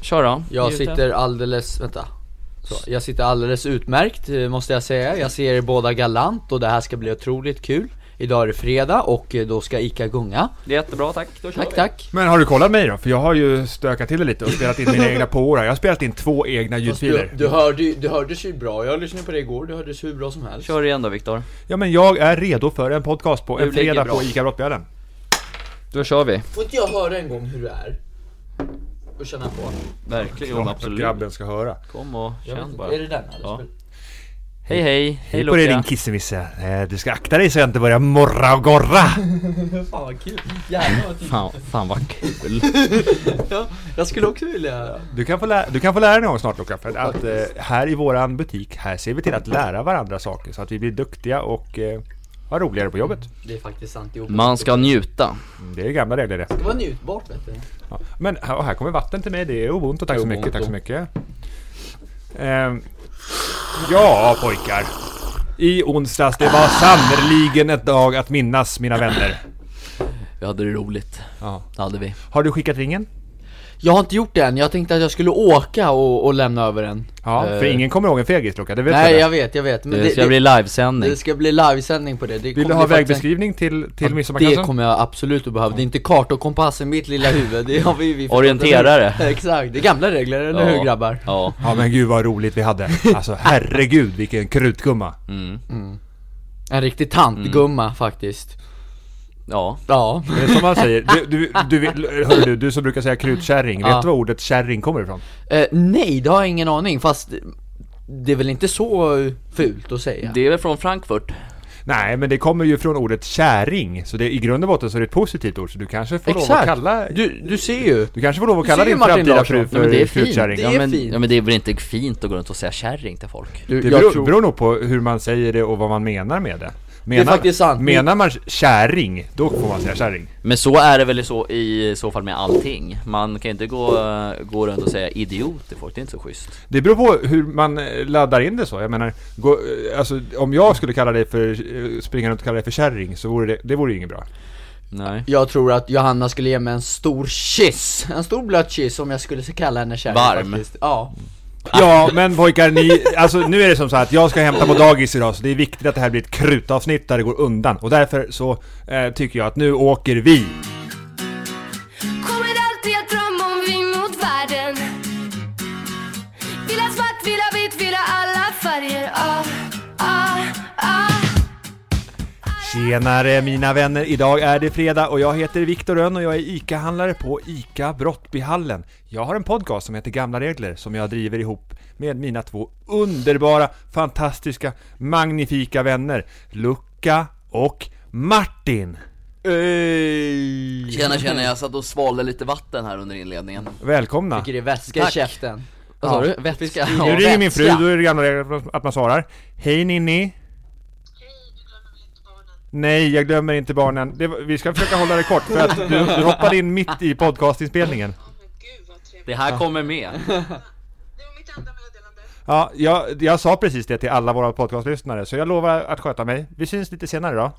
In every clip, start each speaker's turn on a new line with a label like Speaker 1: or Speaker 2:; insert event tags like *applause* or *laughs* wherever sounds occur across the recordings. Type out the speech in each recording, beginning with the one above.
Speaker 1: Kör då.
Speaker 2: Jag
Speaker 1: Njut.
Speaker 2: sitter alldeles, vänta. Så, jag sitter alldeles utmärkt eh, måste jag säga. Jag ser er båda galant och det här ska bli otroligt kul. Idag är det fredag och eh, då ska Ica gunga.
Speaker 1: Det är jättebra, tack. Då kör
Speaker 2: Tack
Speaker 1: vi.
Speaker 2: tack.
Speaker 3: Men har du kollat mig då? För jag har ju stökat till det lite och spelat in mina egna påor här. Jag har spelat in två egna
Speaker 2: Fast Du,
Speaker 3: ljudfiler.
Speaker 2: du, hörde, ju- du hördes ju bra, jag lyssnade på det igår, du hördes hur bra som helst.
Speaker 1: Kör igen då Viktor.
Speaker 3: Ja men jag är redo för en podcast på
Speaker 1: Du
Speaker 3: en
Speaker 1: ligger
Speaker 3: fredag
Speaker 1: bra.
Speaker 3: på ICA Brottbjörnen.
Speaker 1: Då kör vi.
Speaker 2: Får inte jag höra en gång hur det är? Och känna på.
Speaker 1: Verkligen,
Speaker 3: Ja,
Speaker 1: absolut.
Speaker 3: grabben ska höra.
Speaker 1: Kom och
Speaker 2: Jag vet
Speaker 1: känn
Speaker 2: inte,
Speaker 1: bara.
Speaker 2: är det den eller?
Speaker 1: Ja. Hej hej, hej
Speaker 3: Hej på dig din
Speaker 1: Luca.
Speaker 3: kissemisse. Eh, Du ska akta dig så jag inte börjar morra och gorra.
Speaker 2: *laughs* Fan vad kul, jävlar vad kul.
Speaker 1: Fan, fan vad kul.
Speaker 2: Ja, jag skulle också vilja...
Speaker 3: Du kan få lära, du kan få lära dig någon snart Luka, för att eh, här i våran butik, här ser vi till att lära varandra saker så att vi blir duktiga och eh, har roligare på jobbet.
Speaker 2: Det är faktiskt sant, det är
Speaker 1: Man ska njuta.
Speaker 3: Mm, Det är gamla regler det.
Speaker 2: Det var njutbart vet du.
Speaker 3: Ja. Men här, och här kommer vatten till mig, det är ubuntu, tack så mycket, tack så mycket. Ehm, ja pojkar. I onsdags, det var sannerligen ett dag att minnas mina vänner.
Speaker 1: Vi hade det roligt.
Speaker 3: Ja.
Speaker 1: Det hade vi.
Speaker 3: Har du skickat ringen?
Speaker 2: Jag har inte gjort det än, jag tänkte att jag skulle åka och, och lämna över den
Speaker 3: Ja, för
Speaker 2: Eh,
Speaker 3: ingen kommer ihåg en fegis Luka, det vet
Speaker 2: Nej
Speaker 3: du
Speaker 2: jag vet, jag vet, men
Speaker 1: Det
Speaker 2: det,
Speaker 1: ska bli
Speaker 2: det,
Speaker 1: livesändning.
Speaker 2: det ska bli livesändning på det, det
Speaker 3: Vill
Speaker 2: kommer
Speaker 3: du ha
Speaker 2: bli faktiskt en-
Speaker 3: vägbeskrivning till, till
Speaker 2: Det
Speaker 3: midsommarkassen?
Speaker 2: kommer jag absolut att behöva, det är inte karta och kompass i mitt lilla huvud, det har vi, vi förstått.
Speaker 1: Orienterare.
Speaker 2: *laughs* Exakt, det är gamla regler, eller hur grabbar?
Speaker 1: Ja.
Speaker 3: Ja men gud vad roligt vi *laughs* hade. Alltså herregud vilken krutgumma.
Speaker 1: Mm.
Speaker 2: En riktig tantgumma faktiskt
Speaker 1: Ja.
Speaker 2: Ja,
Speaker 3: Det är som man säger, du, du, du, vill- hör du, du som brukar säga krutkärring,
Speaker 2: Ja.
Speaker 3: vet du var ordet kärring kommer ifrån?
Speaker 2: eh, nej det har jag ingen aning, fast det är väl inte så fult att säga?
Speaker 1: Det är väl från Frankfurt?
Speaker 3: Nej men det kommer ju från ordet käring, så det, i grund och botten så är det ett positivt ord så du kanske får lov att
Speaker 2: Exakt,
Speaker 3: kalla
Speaker 2: du, du ser ju
Speaker 3: du kanske får lov att
Speaker 2: Du
Speaker 3: kalla
Speaker 2: ser ju
Speaker 3: din
Speaker 2: Martin
Speaker 3: framtida
Speaker 2: Larsson.
Speaker 3: fru
Speaker 2: Nej, men
Speaker 3: för
Speaker 1: det är fint.
Speaker 3: krutkärring.
Speaker 2: Det
Speaker 3: ja,
Speaker 2: är
Speaker 3: men
Speaker 2: fint.
Speaker 1: Ja men det är väl inte fint att gå runt och säga kärring till folk?
Speaker 2: du,
Speaker 3: det
Speaker 2: jag
Speaker 3: beror,
Speaker 2: tror-
Speaker 3: beror nog på hur man säger det och vad man menar med det. Menar,
Speaker 2: faktiskt sant.
Speaker 3: menar man käring, då får man säga kärring.
Speaker 1: Men så är det väl i så, i så fall med allting. Man kan ju inte gå, gå runt och säga idiot till folk, det är inte så schysst.
Speaker 3: Det beror på hur man eh, laddar in det så. Jag menar, gå, eh, alltså, om jag skulle kalla dig för, eh, springa runt och kalla dig för kärring så vore det, det vore ju inget bra.
Speaker 1: Nej.
Speaker 2: Jag tror att Johanna skulle ge mig en stor kyss, en stor blöt kyss om jag skulle kalla henne kärring
Speaker 1: Varm.
Speaker 2: faktiskt Ja,
Speaker 3: Ja, men pojkar ni, alltså nu är det som så här att jag ska hämta på dagis idag så det är viktigt att det här blir ett krutavsnitt där det går undan. Och därför så eh, tycker jag att nu åker vi.
Speaker 4: Kommer alltid att drömma om vi mot världen Vill ha svart, vill ha vitt, vill ha alla färger ah, ah, ah.
Speaker 3: Tjenare mina vänner, idag är det fredag och jag heter Viktor Rönn och jag är ICA-handlare på ICA Brottbyhallen. Jag har en podcast som heter Gamla Regler som jag driver ihop med mina två underbara, fantastiska, magnifika vänner Luca och Martin.
Speaker 1: *laughs* Tjena tjena, jag satt och svalde lite vatten här under inledningen.
Speaker 3: Välkomna!
Speaker 2: fick det vätska i
Speaker 1: Tack.
Speaker 2: käften
Speaker 1: Vad sa
Speaker 2: Ja.
Speaker 1: *laughs* du? Vätska?
Speaker 2: Nu
Speaker 3: Nu
Speaker 1: Ja.
Speaker 3: ringer min fru,
Speaker 2: vätska.
Speaker 3: då är det gamla regler att man svarar. Hej Ninni! Nej, jag glömmer inte barnen. Det, var- vi ska försöka hålla det kort för att du, du hoppade in mitt i podcastinspelningen.
Speaker 5: Men gud vad trevligt.
Speaker 1: Det här kommer med. *laughs*
Speaker 5: Det var mitt enda meddelande.
Speaker 3: Ja, jag, jag sa precis det till alla våra podcastlyssnare, så jag lovar att sköta mig. Vi syns lite senare då.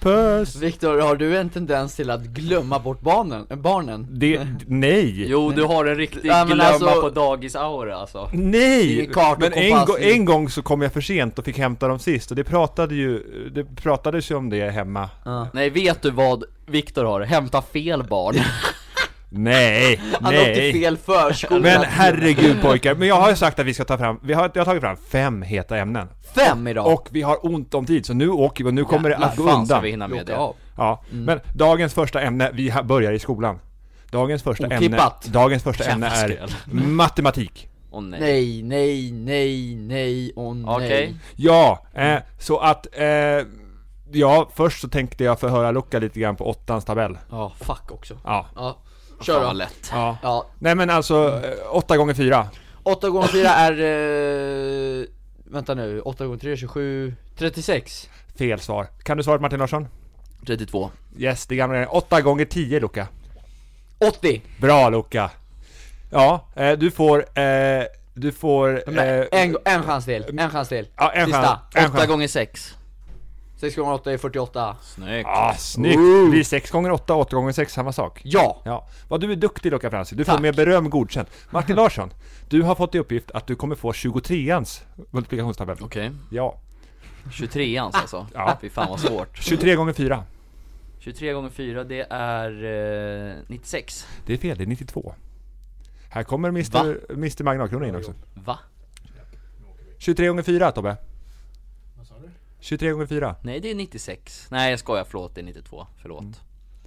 Speaker 3: Puss!
Speaker 2: Viktor, har du en tendens till att glömma bort barnen? äh, barnen?
Speaker 3: Det, nej!
Speaker 1: Jo, du har en riktig
Speaker 2: Ja, men
Speaker 1: glömma
Speaker 2: alltså-
Speaker 1: på dagis-aura alltså.
Speaker 2: Det är
Speaker 3: Nej!
Speaker 2: ju kart och
Speaker 3: Men en,
Speaker 2: kompass
Speaker 3: gång-
Speaker 2: i.
Speaker 3: en gång så kom jag för sent och fick hämta dem sist och det pratade ju, det pratades ju om det hemma.
Speaker 1: Nej, vet du vad Viktor har? Hämta fel *laughs* barn.
Speaker 3: Nej!
Speaker 2: Han åkte
Speaker 3: nej!
Speaker 2: fel förskola
Speaker 3: Men herregud pojkar, men jag har ju sagt att vi ska ta fram, vi har, jag har tagit fram fem heta ämnen.
Speaker 2: Fem idag!
Speaker 3: Och vi har ont om tid, så nu åker vi och nu kommer det att gå
Speaker 1: fan ska
Speaker 3: undan.
Speaker 1: vi hinna Mm. med
Speaker 2: Åka
Speaker 1: det?
Speaker 2: av.
Speaker 3: Ja, men dagens första ämne, vi ha- börjar i skolan. Dagens första
Speaker 2: Otippat.
Speaker 3: ämne, dagens första
Speaker 1: Jävla
Speaker 3: ämne är
Speaker 1: skräll.
Speaker 3: matematik.
Speaker 1: Åh nej.
Speaker 2: Nej, nej, nej, nej, och nej
Speaker 1: Okej.
Speaker 3: Ja, eh, så att, eh, ja först så tänkte jag förhöra Luca lite grann på åttans tabell.
Speaker 2: Ja, fuck också
Speaker 3: Ja.
Speaker 2: Ja,
Speaker 1: Fan
Speaker 2: kör
Speaker 1: vad
Speaker 2: då
Speaker 1: lätt.
Speaker 3: ja.
Speaker 2: Ja,
Speaker 3: Nej men alltså, eh, åtta gånger fyra.
Speaker 2: 8 gånger 4 är... Eh, vänta nu, 8 gånger 3 är 27, 36
Speaker 3: Fel svar. Kan du svaret Martin Larsson?
Speaker 1: 32.
Speaker 3: Yes, det gamla är Åtta gånger tio Luca.
Speaker 2: 80!
Speaker 3: Bra Luca! Ja, eh, du får, eh, du får... Eh,
Speaker 2: en, en chans till, en chans till
Speaker 3: ja, en
Speaker 2: sista.
Speaker 3: chans. En
Speaker 1: 8
Speaker 3: chans.
Speaker 1: gånger 6.
Speaker 2: 6 gånger 8 är 48.
Speaker 1: Snyggt.
Speaker 3: Ah, snyggt!
Speaker 2: Ooh.
Speaker 3: Det blir 6 gånger 8 8 gånger 6 samma sak.
Speaker 2: Ja!
Speaker 3: Ja, vad du är duktig Loka Franzi. Du får
Speaker 2: Tack.
Speaker 3: mer beröm godkänt. Martin Larsson, du har fått i uppgift att du kommer få 23ans multiplikationstabell.
Speaker 1: Okej.
Speaker 3: Ja,
Speaker 1: 23ans alltså.
Speaker 3: *laughs* Ja.
Speaker 1: Fy fan vad svårt.
Speaker 3: 23 gånger 4.
Speaker 1: 23 gånger 4 det är eh, 96.
Speaker 3: Det är fel, det är 92. Här kommer Mr, Mr Magnalkrona in också.
Speaker 1: Va?
Speaker 3: 23 gånger 4 Tobbe. 23 gånger 4.
Speaker 1: Nej det är 96. Nej jag skojar, förlåt det är 92. Förlåt.
Speaker 3: Mm.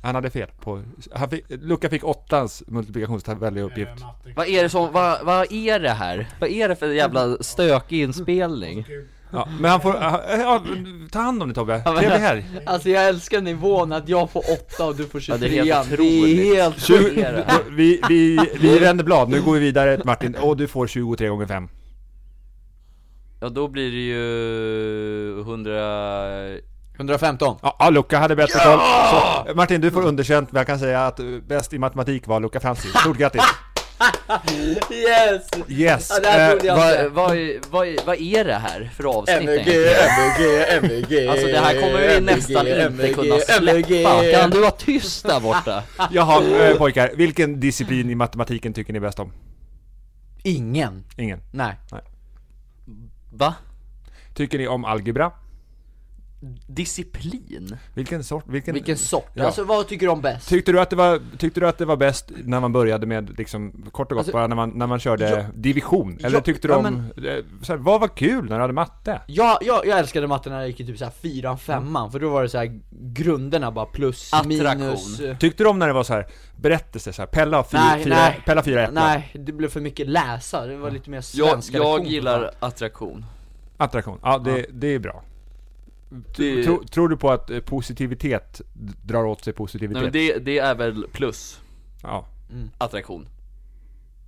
Speaker 3: Han hade fel på... Han fick, Luca fick åttans multiplikationstabell i uppgift.
Speaker 1: Vad är det som, vad, vad är det här? Vad är det för jävla stökig inspelning?
Speaker 2: Mm.
Speaker 3: Ja, men han får... Ja, ja, ta hand om det Tobbe. Trevlig helg.
Speaker 2: *laughs* Alltså jag älskar nivån att jag får 8 och du får 23.
Speaker 1: det är helt
Speaker 2: Det
Speaker 1: otroligt.
Speaker 2: är helt
Speaker 1: Tjugo-
Speaker 2: sjukt.
Speaker 1: är det här?
Speaker 3: Vi, vi, vi vänder blad, nu går vi vidare Martin. Och du får 23 gånger 5.
Speaker 1: Ja då blir det ju 100...
Speaker 2: 115.
Speaker 3: Ja, ja, Luca hade bättre koll. Så, Martin, du får underkänt, men jag kan säga att eh, bäst i matematik var Luca Francis. Stort grattis!
Speaker 2: Yes!
Speaker 3: Yes!
Speaker 2: Ja, det här
Speaker 3: eh,
Speaker 2: trodde jag
Speaker 1: Vad,
Speaker 2: inte.
Speaker 1: vad, är- vad, är- vad är det här för avsnitt egentligen?
Speaker 2: MVG, MVG, MVG
Speaker 1: Alltså det här kommer vi nästan inte kunna släppa. Kan du vara tyst där borta?
Speaker 3: Jaha, eh, pojkar. Vilken disciplin i matematiken tycker ni bäst om?
Speaker 2: Ingen.
Speaker 3: Ingen.
Speaker 2: Nej.
Speaker 1: Va?
Speaker 3: Tycker ni om algebra?
Speaker 1: Disciplin?
Speaker 3: Vilken sort? Vilken,
Speaker 2: Vilken sort.
Speaker 3: Ja.
Speaker 2: Alltså vad tycker du om bäst?
Speaker 3: Tyckte du, att det var, tyckte du att det var bäst när man började med, liksom, kort och gott,
Speaker 2: Alltså,
Speaker 3: bara när man, när man körde division? Eller
Speaker 2: ja,
Speaker 3: tyckte du
Speaker 2: ja,
Speaker 3: om, eh, så här, vad var kul när du hade matte?
Speaker 2: Ja, jag, jag älskade matte när jag gick i typ såhär fyran, femman, för då var det så här grunderna bara plus,
Speaker 1: Attraktion.
Speaker 2: minus eh,
Speaker 3: Tyckte du om när det var så här berättelser, så här, Pella har fyra,
Speaker 2: Nej,
Speaker 3: fyra,
Speaker 2: nej.
Speaker 3: Pella har fyra äpplen?
Speaker 2: Eh, Nej, det blev för mycket läsa, det var lite mer
Speaker 1: Jag,
Speaker 2: svenska
Speaker 1: jag
Speaker 2: lektion.
Speaker 1: gillar attraktion.
Speaker 3: Attraktion, ja det, det är bra.
Speaker 1: Det-
Speaker 3: Tro, tror du på att eh, positivitet d- drar åt sig positivitet?
Speaker 1: Nej men det, det är väl plus
Speaker 3: Ja,
Speaker 1: attraktion.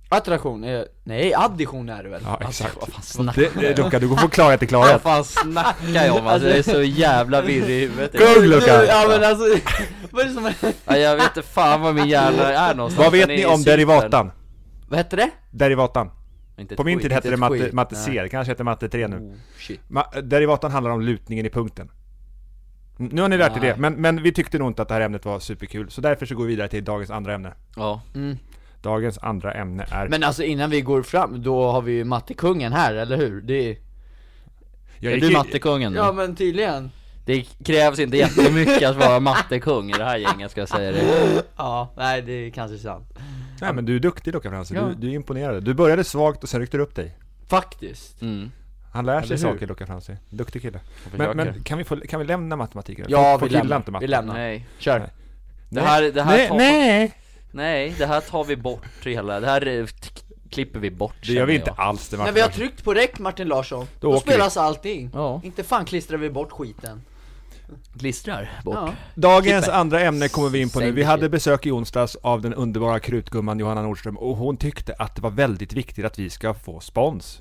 Speaker 2: Attraktion, är, nej addition är det väl? Alltså,
Speaker 3: ja exakt.
Speaker 1: Vad fan snackar
Speaker 3: Det, det, Luca, du får klarhet i
Speaker 1: Vad
Speaker 3: klarhet.
Speaker 1: fan snackar jag om? Alltså det är så jävla virrig i huvudet.
Speaker 3: Kung
Speaker 2: Du,
Speaker 3: Luca!
Speaker 2: ja men alltså, *laughs* vad är det som är?
Speaker 1: Ja, jag vet inte fan var min hjärna är någonstans.
Speaker 3: Vad vet
Speaker 1: Den är
Speaker 3: ni
Speaker 1: i
Speaker 3: om
Speaker 1: sypen.
Speaker 3: derivatan?
Speaker 2: Vad hette det?
Speaker 3: Derivatan.
Speaker 1: Inte ett
Speaker 3: På min
Speaker 1: skit.
Speaker 3: tid hette
Speaker 2: ett
Speaker 3: det matte,
Speaker 2: skit,
Speaker 3: matte C, det kanske heter matte 3 nu.
Speaker 2: Oh, shit.
Speaker 3: Ma- derivatan handlar om lutningen i punkten. Mm, Nu har ni lärt er det, men, men vi tyckte nog inte att det här ämnet var superkul, så därför så går vi vidare till dagens andra ämne.
Speaker 1: Ja.
Speaker 3: Dagens andra ämne är...
Speaker 2: Men alltså innan vi går fram, då har vi ju mattekungen här, eller hur? Det är...
Speaker 3: jag
Speaker 1: Är
Speaker 3: gick
Speaker 1: du
Speaker 3: i-
Speaker 1: mattekungen nu?
Speaker 2: Mm. Ja men tydligen *clears throat*
Speaker 1: Det krävs inte jättemycket att vara mattekung i det här gänget ska jag säga det.
Speaker 2: Ja, nej det är kanske sant
Speaker 3: Nej men du är duktig Luca Fransson,
Speaker 2: Ja.
Speaker 3: du, du är imponerande. Du började svagt och sen ryckte du upp dig.
Speaker 2: Faktiskt
Speaker 1: Mm.
Speaker 3: Han lär sig
Speaker 2: Eller hur?
Speaker 3: saker Luca Franzi, duktig kille. Men,
Speaker 1: försöker.
Speaker 3: men kan, vi få, kan vi lämna matematiken?
Speaker 2: Ja,
Speaker 3: Folk-
Speaker 2: vi
Speaker 3: folk gillar inte
Speaker 2: lämnar, vi
Speaker 3: matte.
Speaker 2: lämnar,
Speaker 1: Nej.
Speaker 2: kör
Speaker 1: Det här, det här
Speaker 3: Nej,
Speaker 1: tar,
Speaker 3: nej!
Speaker 1: nej, det här tar vi bort hela, det här eh, t- klipper vi bort
Speaker 3: Det gör vi
Speaker 1: känner
Speaker 3: inte
Speaker 1: jag.
Speaker 3: alls det
Speaker 2: När
Speaker 3: Martin
Speaker 2: vi har
Speaker 3: Larsson.
Speaker 2: tryckt på räck Martin Larsson,
Speaker 3: Då
Speaker 2: då,
Speaker 3: åker
Speaker 2: spelas allting
Speaker 1: Ja.
Speaker 2: Inte fan klistrar vi bort skiten
Speaker 1: Glistrar bort.
Speaker 2: Ja.
Speaker 3: Dagens andra ämne kommer vi in på nu. Vi
Speaker 2: Säg
Speaker 3: hade
Speaker 2: det.
Speaker 3: besök i onsdags av den underbara krutgumman Johanna Nordström och hon tyckte att det var väldigt viktigt att vi ska få spons.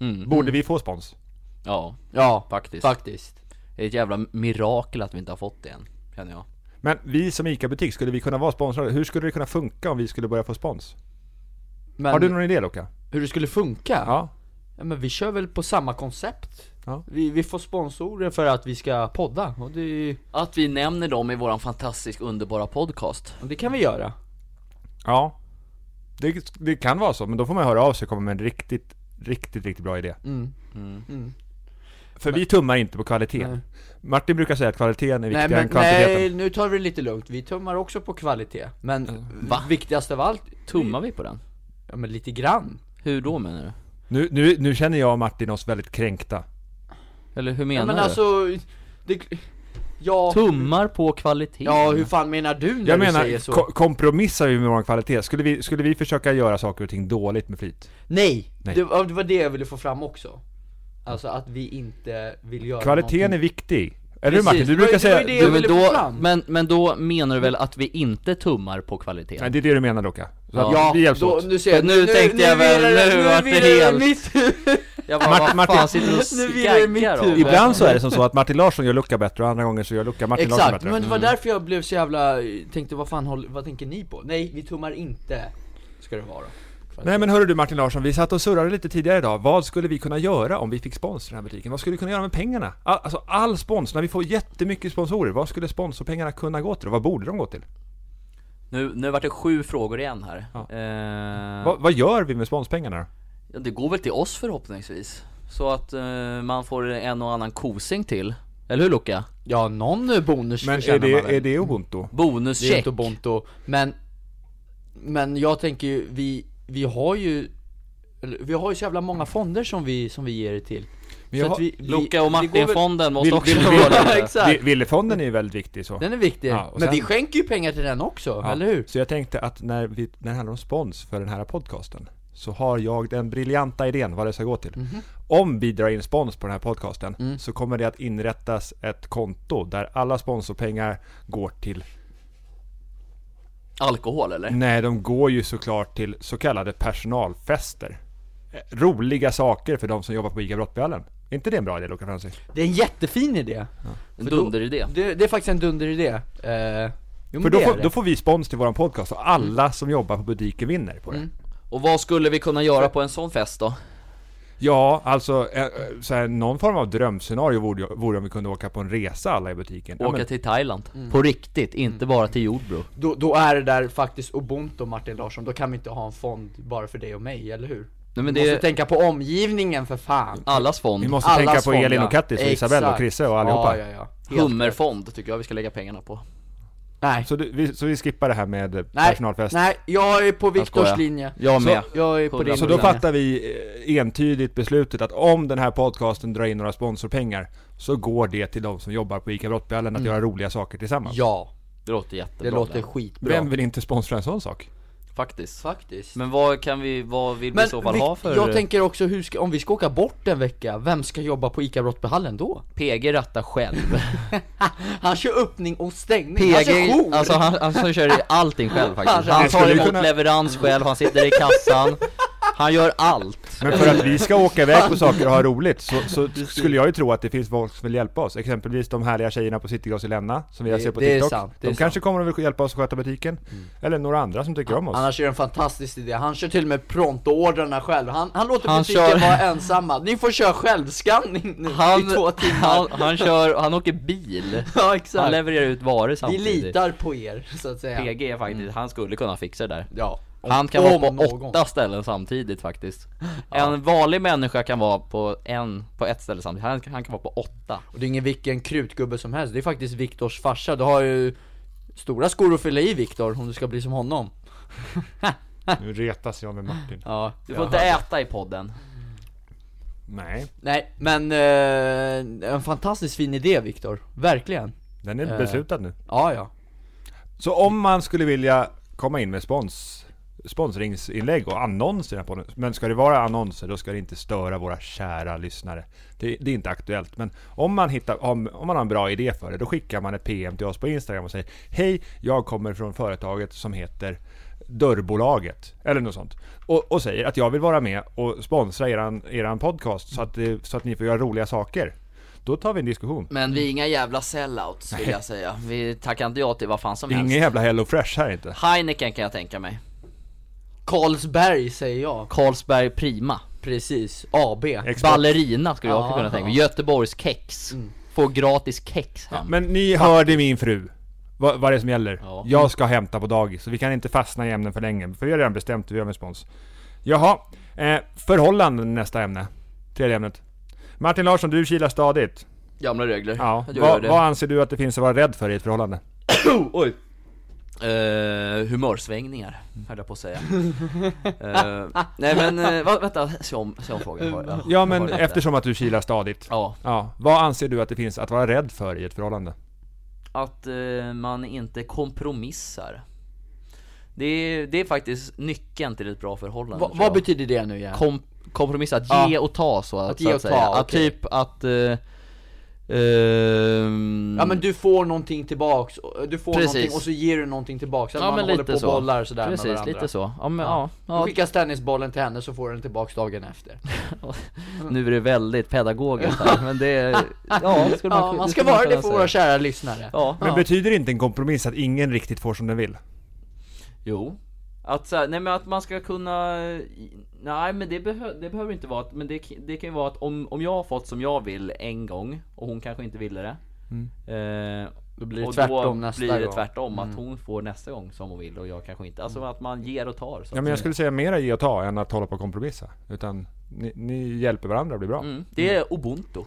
Speaker 1: Mm.
Speaker 3: Borde vi få spons?
Speaker 1: Ja,
Speaker 2: Ja,
Speaker 1: faktiskt.
Speaker 2: faktiskt
Speaker 1: Det är ett jävla mirakel att vi inte har fått det än, känner jag.
Speaker 3: Men vi som ICA-butik, skulle vi kunna vara sponsrade? Hur skulle det kunna funka om vi skulle börja få spons?
Speaker 2: Men
Speaker 3: Har du någon idé Loka?
Speaker 2: hur det skulle funka? Ja.
Speaker 3: Ja.
Speaker 2: men vi kör väl på samma koncept?
Speaker 3: Ja.
Speaker 2: Vi, vi får sponsorer för att vi ska podda, och det,
Speaker 1: Att vi nämner dem i våran fantastisk underbara podcast.
Speaker 2: och det kan vi göra
Speaker 3: Ja. Det, det kan vara så, men då får man höra av sig och komma med en riktigt, riktigt, riktigt bra idé.
Speaker 2: Mm.
Speaker 3: För vi tummar inte på kvaliteten.
Speaker 2: Nej.
Speaker 3: Martin brukar säga att kvaliteten är
Speaker 2: Nej
Speaker 3: viktigare än
Speaker 2: men
Speaker 3: kvantiteten.
Speaker 2: nej, nu tar vi det lite lugnt, vi tummar också på kvalitet
Speaker 1: Eh,
Speaker 2: Men viktigast av allt,
Speaker 1: Tummar vi på den?
Speaker 2: ja men lite grann
Speaker 1: Hur då menar du?
Speaker 3: Nu, nu, nu känner jag och Martin oss väldigt kränkta.
Speaker 1: Eller hur
Speaker 2: Ja
Speaker 1: menar
Speaker 2: men
Speaker 1: du?
Speaker 2: alltså, det, ja,
Speaker 1: Tummar på kvaliteten?
Speaker 2: ja hur fan menar du när
Speaker 3: Jag
Speaker 2: du
Speaker 3: menar,
Speaker 2: säger så?
Speaker 3: ko- kompromissar vi med vår kvalitet? Skulle vi, skulle vi försöka göra saker och ting dåligt med flit?
Speaker 2: Nej!
Speaker 3: Nej.
Speaker 2: Det, var- det var det jag ville få fram också Alltså att vi inte vill göra
Speaker 3: Kvaliteten
Speaker 2: någonting.
Speaker 3: är viktig. Eller hur
Speaker 2: Precis,
Speaker 3: Martin? Du
Speaker 2: det
Speaker 3: brukar
Speaker 2: var- det var
Speaker 3: säga...
Speaker 2: ju det
Speaker 3: du,
Speaker 2: jag
Speaker 1: du, men,
Speaker 2: ville få
Speaker 1: då,
Speaker 2: fram.
Speaker 1: men, men då menar du väl att vi inte tummar på
Speaker 3: nej,
Speaker 1: kvaliteten?
Speaker 3: det är det du menar Loka. Så
Speaker 1: Ja.
Speaker 3: att
Speaker 2: Ja,
Speaker 3: vi hjälps
Speaker 2: då,
Speaker 3: åt.
Speaker 2: nu ser jag,
Speaker 1: Nu tänkte jag väl,
Speaker 2: virrar
Speaker 1: nu vart det
Speaker 2: virrar
Speaker 1: helt-
Speaker 2: mitt huvud.
Speaker 1: Jag bara,
Speaker 3: Mart-
Speaker 1: vad
Speaker 3: Martin-
Speaker 1: fan sitter du och
Speaker 3: *laughs*
Speaker 2: Nu virrar det i mitt
Speaker 1: skaggar om?
Speaker 2: huvud.
Speaker 3: Ibland så är det som så att Martin Larsson gör Luca bättre och andra gånger så gör Luca Martin Larsson
Speaker 2: Exakt,
Speaker 3: bättre.
Speaker 2: men det var
Speaker 1: Mm.
Speaker 2: därför jag blev så jävla, tänkte vad fan håll, vad tänker ni på? Nej, vi tummar inte, ska det vara
Speaker 6: faktiskt.
Speaker 3: Nej men hörru du Martin Larsson, vi satt och surrade lite tidigare idag. Vad skulle vi kunna göra om vi fick spons i den här butiken? Vad skulle vi kunna göra med pengarna? All, alltså all spons, när vi får jättemycket sponsorer, vad skulle sponsorpengarna kunna gå till? Vad borde de gå till?
Speaker 1: Nu, nu vart det sju frågor igen här.
Speaker 3: Ja.
Speaker 1: Eh,
Speaker 3: Vad, vad gör vi med sponspengarna då?
Speaker 1: ja, det går väl till oss förhoppningsvis. Så att eh, man får en och annan kosing till. Eller hur Luca?
Speaker 2: Ja, någon eh, bonus
Speaker 3: Men är
Speaker 2: förtjänar man väl.
Speaker 3: det, är det ubuntu?
Speaker 2: Det är ju
Speaker 1: Bonuscheck.
Speaker 2: inte Ubuntu, men Men jag tänker ju, vi, vi har ju eller, vi har ju så jävla många fonder som vi, som vi ger det till
Speaker 3: Men
Speaker 2: Så
Speaker 3: jag
Speaker 2: att
Speaker 3: har-
Speaker 2: vi, vi,
Speaker 1: Luca och
Speaker 2: det går väl-
Speaker 1: Martin-fonden måste
Speaker 3: Vill-
Speaker 1: också
Speaker 3: vill-
Speaker 1: vara
Speaker 2: Ja,
Speaker 1: där.
Speaker 3: Vi-
Speaker 2: *laughs* exakt!
Speaker 3: Villefonden är ju väldigt viktig så.
Speaker 2: Den är viktig,
Speaker 3: Ja, och
Speaker 2: men vi
Speaker 3: sen-
Speaker 2: skänker ju pengar till den också,
Speaker 3: Ja,
Speaker 2: eller hur?
Speaker 3: Så jag tänkte att när, vi, när det handlar om spons för den här podcasten så har jag den briljanta idén vad det ska gå till.
Speaker 2: Mhm.
Speaker 3: Om vi drar in spons på den här podcasten
Speaker 2: Mm.
Speaker 3: så kommer det att inrättas ett konto där alla sponsorpengar går till
Speaker 1: Alkohol eller?
Speaker 3: Nej, de går ju såklart till så kallade personalfester. Eh, Roliga saker för de som jobbar på ICA Brottbjörnen. Är inte det en bra idé Luca Franzi?
Speaker 2: Det är en jättefin idé!
Speaker 1: En
Speaker 2: För då-
Speaker 1: dunderidé.
Speaker 2: Det, det är faktiskt en dunderidé eh, jo, men
Speaker 3: För då
Speaker 2: det är det.
Speaker 3: får,
Speaker 2: Mm.
Speaker 3: då får vi spons till våran podcast och alla som jobbar på butiken vinner på det.
Speaker 1: Och vad skulle vi kunna göra på en sån fest då?
Speaker 3: Ja, alltså eh, eh, så här, någon form av drömscenario vore, ju- vore om vi kunde åka på en resa alla i butiken. Ja,
Speaker 1: Åka
Speaker 3: men, Mm.
Speaker 1: till Thailand. På riktigt, inte bara till Jordbro.
Speaker 2: då, då är det där faktiskt Ubuntu Martin Larsson, då kan vi inte ha en fond bara för dig och mig, eller hur?
Speaker 1: Nej men
Speaker 2: Vi måste
Speaker 1: det är
Speaker 2: tänka på omgivningen för fan!
Speaker 1: allas
Speaker 3: vi
Speaker 1: fond.
Speaker 3: måste
Speaker 2: Allas
Speaker 3: tänka på
Speaker 2: fond,
Speaker 3: Elin
Speaker 2: ja.
Speaker 3: och Kattis och Isabelle och
Speaker 2: Exakt.
Speaker 3: Krisse och allihopa.
Speaker 2: Ja, ja, ja. Helt rätt.
Speaker 1: Hummerfond tycker jag vi ska lägga pengarna på.
Speaker 2: Nej.
Speaker 3: Så, du, vi, så vi skippar det här med eh,
Speaker 2: Nej,
Speaker 3: personalfest.
Speaker 2: nej, jag är på Viktors
Speaker 1: skojar.
Speaker 2: linje.
Speaker 1: Jag med.
Speaker 2: Jag är på
Speaker 1: Hundra
Speaker 2: din
Speaker 3: Så Alltså, då
Speaker 2: linje.
Speaker 3: fattar vi eh, entydigt beslutet att om den här podcasten drar in några sponsorpengar så går det till de som jobbar på ICA Brottbjörnen att göra roliga saker tillsammans.
Speaker 2: Mm. Ja,
Speaker 1: Det låter
Speaker 2: det
Speaker 1: jättebra.
Speaker 2: låter
Speaker 1: där.
Speaker 2: skitbra.
Speaker 3: Vem vill inte sponsra en sån sak?
Speaker 1: Faktiskt.
Speaker 2: Faktiskt.
Speaker 1: Men vad kan vi, vad vill vi i så fall
Speaker 2: vi-
Speaker 1: ha för...
Speaker 2: jag tänker också, hur ska, om vi ska åka bort en vecka, vem ska jobba på ICA Brottbyhallen då? *laughs*
Speaker 1: PG rattar själv.
Speaker 2: Han kör öppning och stängning, han kör
Speaker 1: PG,
Speaker 2: jour!
Speaker 1: alltså han, han kör allting själv faktiskt. Han
Speaker 2: Jag
Speaker 1: tar
Speaker 3: skulle
Speaker 1: emot
Speaker 3: kunna-
Speaker 1: leverans själv, han sitter i kassan. Han gör allt.
Speaker 3: Men för att vi ska åka iväg på saker och ha roligt så, så skulle jag ju tro att det finns folk som vill hjälpa oss. Exempelvis de härliga tjejerna på Citygross i Länna som vi har
Speaker 2: Det-
Speaker 3: sett på
Speaker 2: det är
Speaker 3: TikTok.
Speaker 2: sant, det
Speaker 3: de
Speaker 2: är
Speaker 3: kanske kommer och vill hjälpa oss att sköta butiken. Eller några andra som tycker om oss.
Speaker 2: Annars är det en fantastisk idé, han kör till och med prontoordrarna själv, han, han låter
Speaker 1: Han
Speaker 2: butiken
Speaker 1: kör-
Speaker 2: vara ensamma, ni får köra självskanning nu i två
Speaker 1: Han,
Speaker 2: timmar
Speaker 1: han, han kör, han åker bil.
Speaker 2: *laughs* Ja
Speaker 1: Han
Speaker 2: exakt,
Speaker 1: levererar ut varor
Speaker 2: vi
Speaker 1: samtidigt.
Speaker 2: litar på er så att säga
Speaker 1: PG är faktiskt, han skulle kunna fixa det där.
Speaker 2: Ja,
Speaker 1: Han kan
Speaker 2: om
Speaker 1: vara på
Speaker 2: någon.
Speaker 1: åtta ställen samtidigt faktiskt. En vanlig människa kan vara på en, på ett ställe samtidigt. Han, han kan vara på åtta.
Speaker 2: Och det är ingen vilken krutgubbe som helst, det är faktiskt Viktors farsa, du har ju stora skor att fylla i Viktor om du ska bli som honom
Speaker 3: Nu retas jag med Martin.
Speaker 2: Ja,
Speaker 1: Du får inte äta i podden.
Speaker 3: Nej,
Speaker 2: Nej men, eh, en fantastiskt fin idé Viktor, verkligen
Speaker 3: den
Speaker 2: Eh.
Speaker 3: är beslutad nu.
Speaker 2: Ja ja,
Speaker 3: Så om man skulle vilja komma in med spons, sponsringsinlägg och annonser på den. Men ska det vara annonser då ska det inte störa våra kära lyssnare. Det, det är inte aktuellt. Men om man, hittar, om, om man har en bra idé för det då skickar man ett PM till oss på Instagram och säger Hej, jag kommer från företaget som heter Dörrbolaget eller något sånt. Och, och säger att jag vill vara med och sponsra eran, eran podcast så att, det, så att ni får göra roliga saker. Då tar vi en diskussion.
Speaker 1: Men vi är inga jävla sellouts vill jag säga. Vi tackar inte ja till vad fan som
Speaker 3: Ingen
Speaker 1: helst.
Speaker 3: jävla Hello Fresh här inte.
Speaker 1: Heineken kan jag tänka mig.
Speaker 2: Karlsberg säger jag
Speaker 1: Carlsberg Prima.
Speaker 2: Precis, AB
Speaker 3: Export.
Speaker 1: Ballerina skulle jag
Speaker 2: Ja.
Speaker 1: kunna tänka mig. Göteborgs kex. Får gratis kex hem.
Speaker 3: Men ni hörde min fru. Vad, vad det är som gäller.
Speaker 1: Ja.
Speaker 3: Jag ska hämta på dagis, så vi kan inte fastna i ämnen för länge. För vi har redan bestämt hur vi gör med spons. Jaha, eh, förhållanden nästa ämne. Tredje ämnet. Martin Larsson, du kilar stadigt.
Speaker 1: Gamla regler.
Speaker 3: Ja.
Speaker 1: Jag gör
Speaker 3: Vad,
Speaker 1: det.
Speaker 3: vad anser du att det finns att vara rädd för i ett förhållande?
Speaker 1: Oj. Eh, humörsvängningar, höll jag på att *laughs* säga. Eh, nej men, uh, va, vänta, se om, se om frågan. Var,
Speaker 3: Ja, men
Speaker 1: var det inte.
Speaker 3: eftersom att du kilar stadigt.
Speaker 1: Ja,
Speaker 3: Ja, vad anser du att det finns att vara rädd för i ett förhållande?
Speaker 1: att eh, man inte kompromissar. Det är, det är faktiskt nyckeln till ett bra förhållande.
Speaker 2: Va,
Speaker 1: tror jag.
Speaker 2: Vad betyder det nu igen?
Speaker 1: Kom, kompromissa, att ge
Speaker 2: Ja.
Speaker 1: och ta så att,
Speaker 2: Att
Speaker 1: så
Speaker 2: ge
Speaker 1: att
Speaker 2: och ta,
Speaker 1: säga. Att
Speaker 2: okej.
Speaker 1: typ att... eh, ehm,
Speaker 2: Ja men du får någonting tillbaks, du får
Speaker 1: Precis.
Speaker 2: någonting och så ger du någonting tillbaks, så att man håller på och bollar sådär med
Speaker 1: Precis,
Speaker 2: varandra
Speaker 1: lite så. Ja, men,
Speaker 2: Ja.
Speaker 1: ja.
Speaker 2: Du
Speaker 1: Ja,
Speaker 2: skickar tennisbollen till henne så får du den tillbaks dagen efter
Speaker 1: Nu är det väldigt pedagogiskt här, men
Speaker 2: *laughs*
Speaker 1: det... Ja, det skulle man,
Speaker 2: Ja, man
Speaker 1: det
Speaker 2: ska
Speaker 1: skulle man
Speaker 2: vara det
Speaker 1: kunna
Speaker 2: för
Speaker 1: säga.
Speaker 2: våra kära lyssnare
Speaker 1: Ja.
Speaker 3: Men betyder inte en kompromiss att ingen riktigt får som den vill?
Speaker 1: Jo. Att, så här, nej men att man ska kunna, nej men det, behö, det behöver inte vara att, men det, det kan ju vara att om, om jag har fått som jag vill en gång och hon kanske inte ville det. Eh,
Speaker 2: Då blir det
Speaker 1: och
Speaker 2: tvärtom nästa
Speaker 1: blir det
Speaker 2: gång.
Speaker 1: tvärtom, att hon får nästa gång som hon vill och jag kanske inte. Alltså att man ger och tar. Så
Speaker 3: Ja
Speaker 1: att
Speaker 3: men jag
Speaker 1: säga.
Speaker 3: skulle säga mera ge och ta än att hålla på och kompromissa. Utan ni, ni hjälper varandra att bli bra.
Speaker 1: mm, det är ubuntu.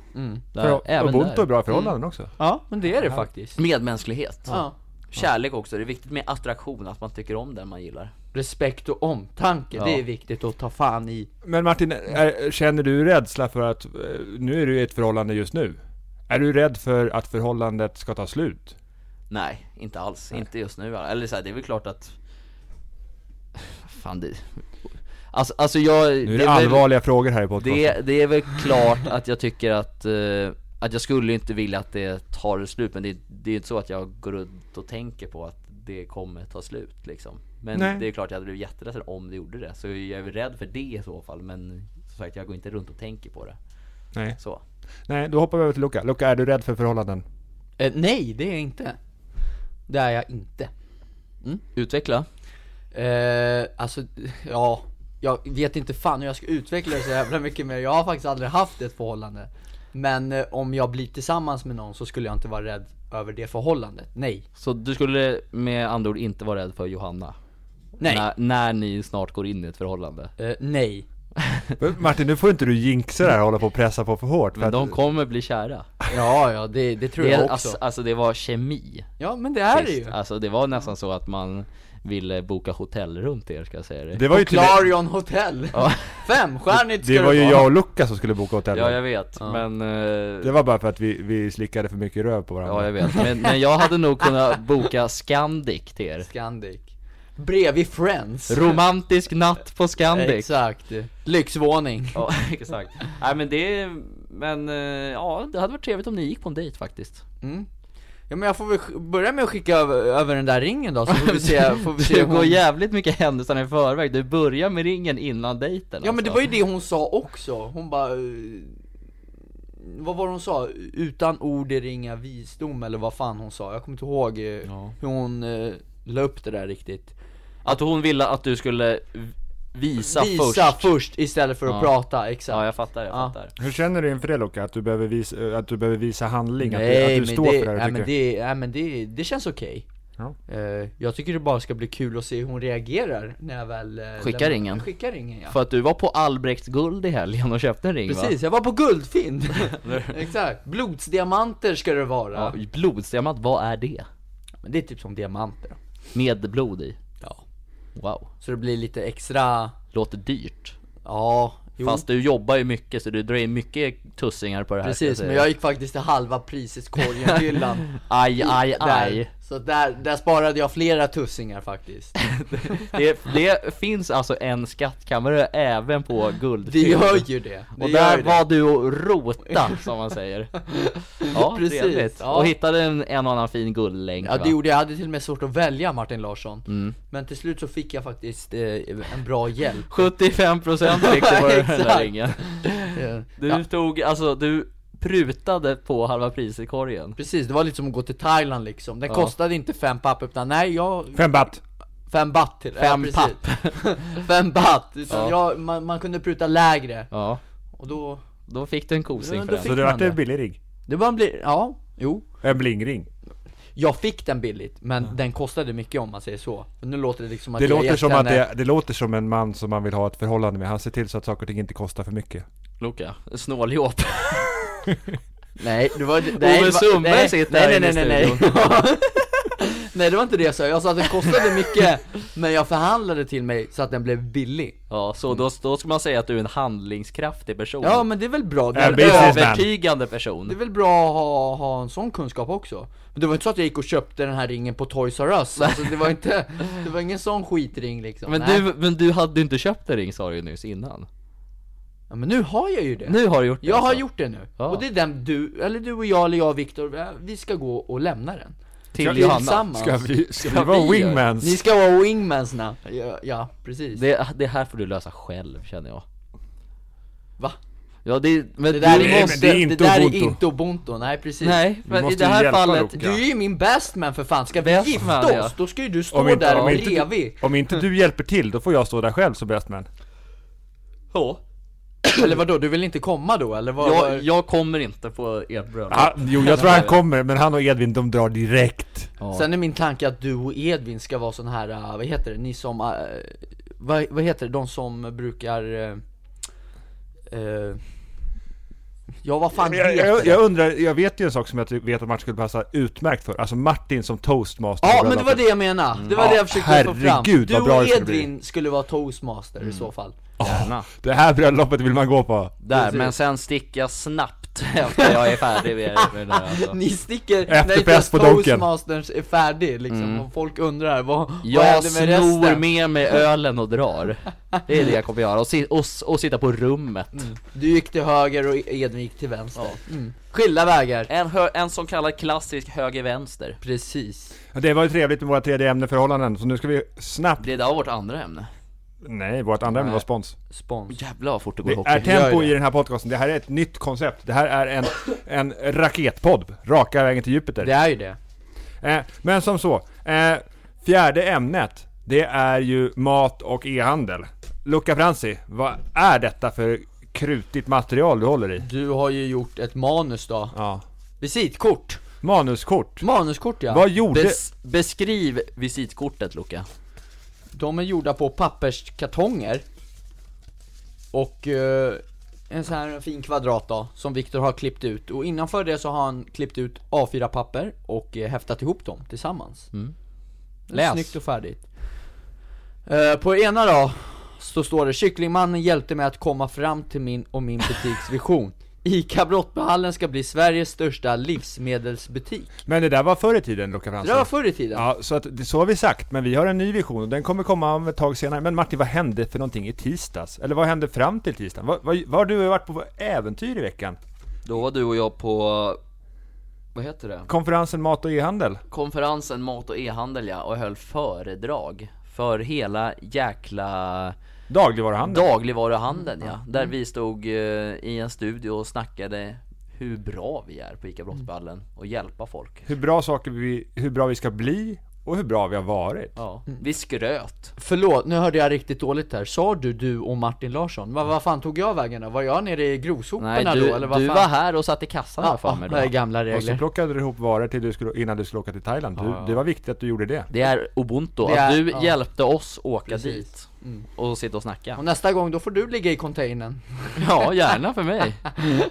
Speaker 2: Där,
Speaker 3: För,
Speaker 2: även
Speaker 3: Ubuntu är
Speaker 2: där.
Speaker 3: bra i förhållanden också.
Speaker 2: Ja, men det är det faktiskt.
Speaker 1: Medmänsklighet.
Speaker 2: Ja.
Speaker 1: Kärlek också, det är viktigt med attraktion, att man tycker om den man gillar.
Speaker 2: Respekt och omtanke, det är viktigt att ta fan i.
Speaker 3: Men Martin, är, känner du rädsla för att, eh, nu är du i ett förhållande just nu. Är du rädd för att förhållandet ska ta slut?
Speaker 1: Nej, inte alls. Inte just nu. Eller så här, det är väl klart att... Fan det... Alltså, alltså jag...
Speaker 3: Nu är det, allvarliga frågor här i podcasten.
Speaker 1: Väl, det, det är väl klart att jag tycker att... eh, att jag skulle inte vilja att det tar slut. Men det, det är ju inte så att jag går runt och tänker på att det kommer ta slut liksom. Men
Speaker 3: Nej.
Speaker 1: det är klart jag hade blivit jätteledsen om det gjorde det. Så jag är väl rädd för det i så fall. Men som sagt, jag går inte runt och tänker på det.
Speaker 3: Nej.
Speaker 1: Så.
Speaker 3: Nej, då hoppar vi över till Luca. Luca, är du rädd för förhållanden?
Speaker 2: Eh, nej, det är jag inte. Det är jag inte.
Speaker 1: Utveckla.
Speaker 2: Eh, alltså, *laughs* ja. Jag vet inte fan hur jag ska utveckla det så jävla mycket mer. Jag har faktiskt aldrig haft ett förhållande. Men eh, om jag blir tillsammans med någon så skulle jag inte vara rädd över det förhållandet. Nej.
Speaker 1: Så du skulle med andra ord inte vara rädd för Johanna?
Speaker 2: Nej.
Speaker 1: När, när ni snart går in i ett förhållande?
Speaker 2: Eh, nej.
Speaker 3: Men Martin, nu får inte du jinxa det här och hålla på och pressa på för hårt. För
Speaker 1: Men de
Speaker 3: att,
Speaker 1: kommer bli kära.
Speaker 2: Ja, ja, det, det tror
Speaker 1: Det,
Speaker 2: jag
Speaker 1: är-
Speaker 2: också.
Speaker 1: alltså, alltså det var kemi.
Speaker 2: ja, men det är det
Speaker 1: Sist.
Speaker 2: ju.
Speaker 1: Alltså det var nästan så att man ville boka hotellrum till er ska jag säga det.
Speaker 3: det var ju, till,
Speaker 2: Clarion Hotel. *laughs* Femstjärnigt ska
Speaker 3: det var ju jag och Luca som skulle boka hotell.
Speaker 1: Ja jag vet, men... eh,
Speaker 3: Det var bara för att vi, vi slickade för mycket röv på varandra.
Speaker 1: Ja jag vet, men, men jag hade nog kunnat boka Scandic till er.
Speaker 2: Scandic. Bredvid Friends.
Speaker 1: Romantisk natt på Scandic.
Speaker 2: Exakt. Lyxvåning.
Speaker 1: Ja, *laughs* exakt. Nej men det, men eh, ja det hade varit trevligt om ni gick på en dejt faktiskt.
Speaker 2: Ja men jag får väl sk- börja med att skicka över, över den där ringen då, så får
Speaker 1: *laughs*
Speaker 2: vi se, får vi se
Speaker 1: Du
Speaker 2: hon-
Speaker 1: går jävligt mycket händelserna i förväg, du börjar med ringen innan dejten
Speaker 2: Ja men det
Speaker 1: alltså.
Speaker 2: var ju det hon sa också, hon bara... eh, Vad var det hon sa? Utan ord är det inga visdom eller vad fan hon sa, jag kommer inte ihåg eh, hur hon eh, la upp det där riktigt
Speaker 1: Att hon ville att du skulle v- visa,
Speaker 2: Visa
Speaker 1: först.
Speaker 2: först, istället för att
Speaker 1: Ja.
Speaker 2: prata, exakt
Speaker 1: Ja jag fattar, jag
Speaker 2: Ja.
Speaker 1: fattar.
Speaker 3: Hur känner du inför det Luca? Att du behöver visa, eh, att du behöver visa handling? att du,
Speaker 2: Nej
Speaker 3: att du
Speaker 2: men
Speaker 3: står
Speaker 2: det,
Speaker 3: för det
Speaker 2: nej,
Speaker 3: här
Speaker 2: men
Speaker 3: du tycker?
Speaker 2: det, nej men det, det känns okej
Speaker 3: Ja.
Speaker 2: Eh, Jag tycker det bara ska bli kul att se hur hon reagerar när jag väl eh,
Speaker 1: Skickar
Speaker 2: lämnar-
Speaker 1: ringen.
Speaker 2: Skickar ringen ja
Speaker 1: För att du var på Albrekts guld i helgen och köpte en ring
Speaker 2: Precis, jag var på guldfynd! *laughs* Exakt, blodsdiamanter ska det vara!
Speaker 1: va? Ja, blodsdiamant, vad är det?
Speaker 2: Men det är typ som diamanter.
Speaker 1: Med blod i?
Speaker 2: Ja.
Speaker 1: Wow.
Speaker 2: Så det blir lite extra,
Speaker 1: Låter dyrt.
Speaker 2: ja, jo,
Speaker 1: Fast du jobbar ju mycket så du drar in mycket tussingar på det här
Speaker 2: precis.
Speaker 1: ska
Speaker 2: Men
Speaker 1: säga.
Speaker 2: jag gick faktiskt till halva priset korgen-hyllan.
Speaker 1: Aj, *laughs* aj,
Speaker 2: Där.
Speaker 1: aj.
Speaker 2: Så där, där sparade jag flera
Speaker 1: *laughs*
Speaker 2: tussingar faktiskt.
Speaker 1: Det, det finns alltså en skattkammare även på
Speaker 2: Det
Speaker 1: guldfynd.
Speaker 2: gör ju det. det
Speaker 1: Och
Speaker 2: gör
Speaker 1: där
Speaker 2: ju det.
Speaker 1: var du och rota, som man *laughs* säger. Ja,
Speaker 2: Precis,
Speaker 1: trevligt.
Speaker 2: ja.
Speaker 1: Och hittade en, en och annan fin guldlänk
Speaker 2: Ja
Speaker 1: va?
Speaker 2: det gjorde jag, jag hade till och med svårt att välja Martin Larsson.
Speaker 1: Mm.
Speaker 2: Men till slut så fick jag faktiskt eh, en bra hjälp.
Speaker 1: 75% fick *laughs* du på den där
Speaker 2: Exakt.
Speaker 1: ringen.
Speaker 2: Eh,
Speaker 1: *laughs* Du tog, alltså du prutade på halva priset i korgen.
Speaker 2: Precis, det var lite som att gå till Thailand liksom. Den kostade inte fem papp utan nej jag
Speaker 3: Fem baht!
Speaker 2: Fem baht till
Speaker 1: Fem
Speaker 2: precis. *laughs* Fem baht, utan jag, man, man kunde pruta lägre
Speaker 1: Ja,
Speaker 2: och då
Speaker 1: då fick du en kosing
Speaker 2: Ja,
Speaker 1: för
Speaker 2: då
Speaker 1: den.
Speaker 2: fick-
Speaker 3: Så det vart
Speaker 2: man
Speaker 3: en billig ring.
Speaker 2: Det var en bli, ja, jo
Speaker 3: En blingring.
Speaker 2: Jag fick den billigt, men den kostade mycket om man säger så Och Nu låter det liksom att
Speaker 3: Det
Speaker 2: jag
Speaker 3: låter,
Speaker 2: gett
Speaker 3: som att
Speaker 2: henne-
Speaker 3: det, det låter som en man som man vill ha ett förhållande med. Han ser till så att saker och ting inte kostar för mycket.
Speaker 1: Loka, snåljåp. *laughs*
Speaker 2: Nej, det var nej,
Speaker 1: Ove
Speaker 2: det var-
Speaker 1: Sundberg
Speaker 2: nej,
Speaker 1: sitter
Speaker 2: nej,
Speaker 1: här
Speaker 2: nej,
Speaker 1: inne i
Speaker 2: nej, nej, nej. *laughs* nej det var inte det jag sa, jag sa att den kostade mycket Men jag förhandlade till mig så att den blev billig
Speaker 1: Ja, så då, då ska man säga att du är en handlingskraftig person.
Speaker 2: Ja men det är väl bra, det
Speaker 3: Ja,
Speaker 2: är,
Speaker 1: en
Speaker 2: väl-
Speaker 3: business-
Speaker 1: övertygande person.
Speaker 2: det är väl bra att ha, ha en sån kunskap också Men det var inte så att jag gick och köpte den här ringen på Toys R Us alltså, det var inte, det var ingen sån skitring liksom
Speaker 1: Men
Speaker 2: nej.
Speaker 1: du, men du hade ju inte köpt en ring sa du ju nyss innan.
Speaker 2: Ja, men nu har jag ju det!
Speaker 1: Nu har du gjort det
Speaker 2: Jag har
Speaker 1: alltså.
Speaker 2: gjort det nu,
Speaker 1: Ja.
Speaker 2: och det är den du, eller du och jag eller jag och Viktor, eh, vi ska gå och lämna den
Speaker 1: Till
Speaker 2: vi
Speaker 1: Johanna.
Speaker 2: tillsammans.
Speaker 3: Ska vi, ska vi
Speaker 1: vi
Speaker 3: vara
Speaker 1: göra?
Speaker 3: wingmans?
Speaker 2: Ni ska vara wingmansna, ja, ja precis
Speaker 1: Det, det här får du lösa själv känner jag.
Speaker 2: Va?
Speaker 1: Ja det, men
Speaker 2: Det där
Speaker 1: du
Speaker 2: är,
Speaker 1: måste...
Speaker 3: Nej,
Speaker 2: måste,
Speaker 3: det
Speaker 2: det
Speaker 3: är inte
Speaker 2: där
Speaker 3: Ubuntu.
Speaker 2: är inte ubuntu, nej precis
Speaker 1: Nej,
Speaker 3: Du
Speaker 1: men i
Speaker 3: måste
Speaker 1: det
Speaker 3: ju
Speaker 1: här
Speaker 3: hjälpa
Speaker 1: fallet...
Speaker 3: Luca.
Speaker 2: Du är ju min bestman för fan, ska vi
Speaker 1: Best
Speaker 2: gifta
Speaker 1: man,
Speaker 2: oss?
Speaker 1: ja.
Speaker 2: Då ska ju du stå
Speaker 3: Om inte,
Speaker 2: där
Speaker 3: om, inte,
Speaker 2: bredvid
Speaker 3: du- om inte du hjälper till, då får jag stå där själv som bäst man.
Speaker 1: Ja.
Speaker 2: Eller vadå, du vill inte komma då eller? Vad,
Speaker 1: Jag,
Speaker 2: vad-
Speaker 1: jag kommer inte på ert bröllop.
Speaker 3: Ah, jo,
Speaker 2: *laughs*
Speaker 3: jag tror han kommer, men han och Edvin de drar direkt.
Speaker 2: Sen är min tanke att du och Edvin ska vara sån här, äh, vad heter det, ni som, äh, vad, vad heter det, de som brukar, äh, äh, ja vad fan
Speaker 3: Jag,
Speaker 2: heter
Speaker 3: jag,
Speaker 2: det?
Speaker 3: jag undrar, jag vet ju en sak som jag ty- vet att Martin skulle passa utmärkt för. Alltså Martin som toastmaster.
Speaker 2: Ja
Speaker 3: på
Speaker 2: men det var
Speaker 3: bröllopet.
Speaker 2: det jag menade, det var
Speaker 3: Ja,
Speaker 2: det jag försökte få fram
Speaker 3: herregud,
Speaker 2: Du
Speaker 3: vad bra
Speaker 2: och
Speaker 3: det skulle bli. Mm.
Speaker 2: Edvin skulle vara toastmaster i så fall
Speaker 1: Gärna.
Speaker 3: Det här bröllopet vill man gå på.
Speaker 1: Där,
Speaker 2: Precis.
Speaker 1: men sen sticker jag snabbt *laughs* efter jag är färdig med, med det här alltså.
Speaker 2: Ni sticker
Speaker 3: Efterfest
Speaker 2: när inte ens
Speaker 3: på Mm. Donken.
Speaker 2: toastmasters är färdig liksom, och folk undrar vad, vad
Speaker 1: Jag
Speaker 2: händer med
Speaker 1: snor
Speaker 2: resten?
Speaker 1: med mig ölen och drar. Det är det jag kommer göra. Och, si- och, s- och sitta på rummet.
Speaker 2: Du gick till höger och Edvin gick till vänster mm. Skilda vägar
Speaker 1: En, hö- en så kallad klassisk höger-vänster.
Speaker 2: Precis
Speaker 3: Ja, Det var ju trevligt med våra tredje ämneförhållanden, så nu ska vi snabbt...
Speaker 1: Det där var vårt andra ämne.
Speaker 3: Nej, vårt andra ämne var spons.
Speaker 2: Spons
Speaker 1: Jävlar vad fort det går
Speaker 3: Det
Speaker 1: i hockey.
Speaker 3: är tempo
Speaker 2: Gör det.
Speaker 3: i den här podcasten, det här är ett nytt koncept. Det här är en, en raketpodd, raka vägen till Jupiter.
Speaker 2: Det är ju det
Speaker 3: Eh, men som så, eh, fjärde ämnet, det är ju mat och e-handel. Luca Franzi, vad är detta för krutigt material du håller i?
Speaker 2: Du har ju gjort ett manus då
Speaker 3: Ja.
Speaker 2: Visitkort
Speaker 3: Manuskort.
Speaker 2: Manuskort ja
Speaker 3: Vad gjorde...
Speaker 1: Bes- beskriv visitkortet Luca.
Speaker 2: De är gjorda på papperskartonger Och eh, en sån här fin kvadrat då, som Viktor har klippt ut Och innanför det så har han klippt ut A4-papper och eh, häftat ihop dem tillsammans
Speaker 1: Mm.
Speaker 2: Det är
Speaker 1: Läs.
Speaker 2: Snyggt och färdigt Eh, På ena då, så står det 'Kycklingmannen hjälpte mig att komma fram till min och min butiks vision' ICA Brottbyhallen ska bli Sveriges största livsmedelsbutik
Speaker 3: Men det där var förr i tiden, Luca
Speaker 2: Det
Speaker 3: Franzi.
Speaker 2: där var förr i tiden
Speaker 3: Ja, så, att, det- så har vi sagt, men vi har en ny vision och den kommer komma om ett tag senare. Men Martin, vad hände för någonting i tisdags? Eller vad hände fram till tisdagen? Vad, vad, vad har du varit på för äventyr i veckan?
Speaker 1: Då var du och jag på, vad heter det?
Speaker 3: Konferensen Mat och e-handel?
Speaker 1: konferensen Mat och e-handel ja, och höll föredrag för hela jäkla
Speaker 3: Dagligvaruhandel?
Speaker 1: dagligvaruhandeln ja. Där vi stod eh, i en studio och snackade hur bra vi är på ICA Brottsballen och hjälpa folk.
Speaker 3: hur bra saker vi, hur bra vi ska bli och hur bra vi har varit.
Speaker 1: Ja, vi skröt.
Speaker 2: Förlåt, nu hörde jag riktigt dåligt här. Sa du du och Martin Larsson? Vad vad fan tog jag vägen då? Var jag nere i grovsoporna
Speaker 1: Nej, du,
Speaker 2: då eller vad
Speaker 1: du
Speaker 2: fan?
Speaker 1: var här och satt i kassan här för mig
Speaker 2: det är
Speaker 1: då.
Speaker 2: gamla
Speaker 3: Och så
Speaker 2: regler.
Speaker 3: plockade du ihop varor till du skulle, innan du skulle åka till Thailand. Du, Det var viktigt att du gjorde det.
Speaker 1: Det är Mm. ubuntu,
Speaker 2: Det är-
Speaker 1: att du
Speaker 2: ja.
Speaker 1: hjälpte oss åka
Speaker 2: Precis.
Speaker 1: dit och sitta och snacka.
Speaker 2: Och nästa gång då får du ligga i containern.
Speaker 1: *laughs* Ja, gärna för mig.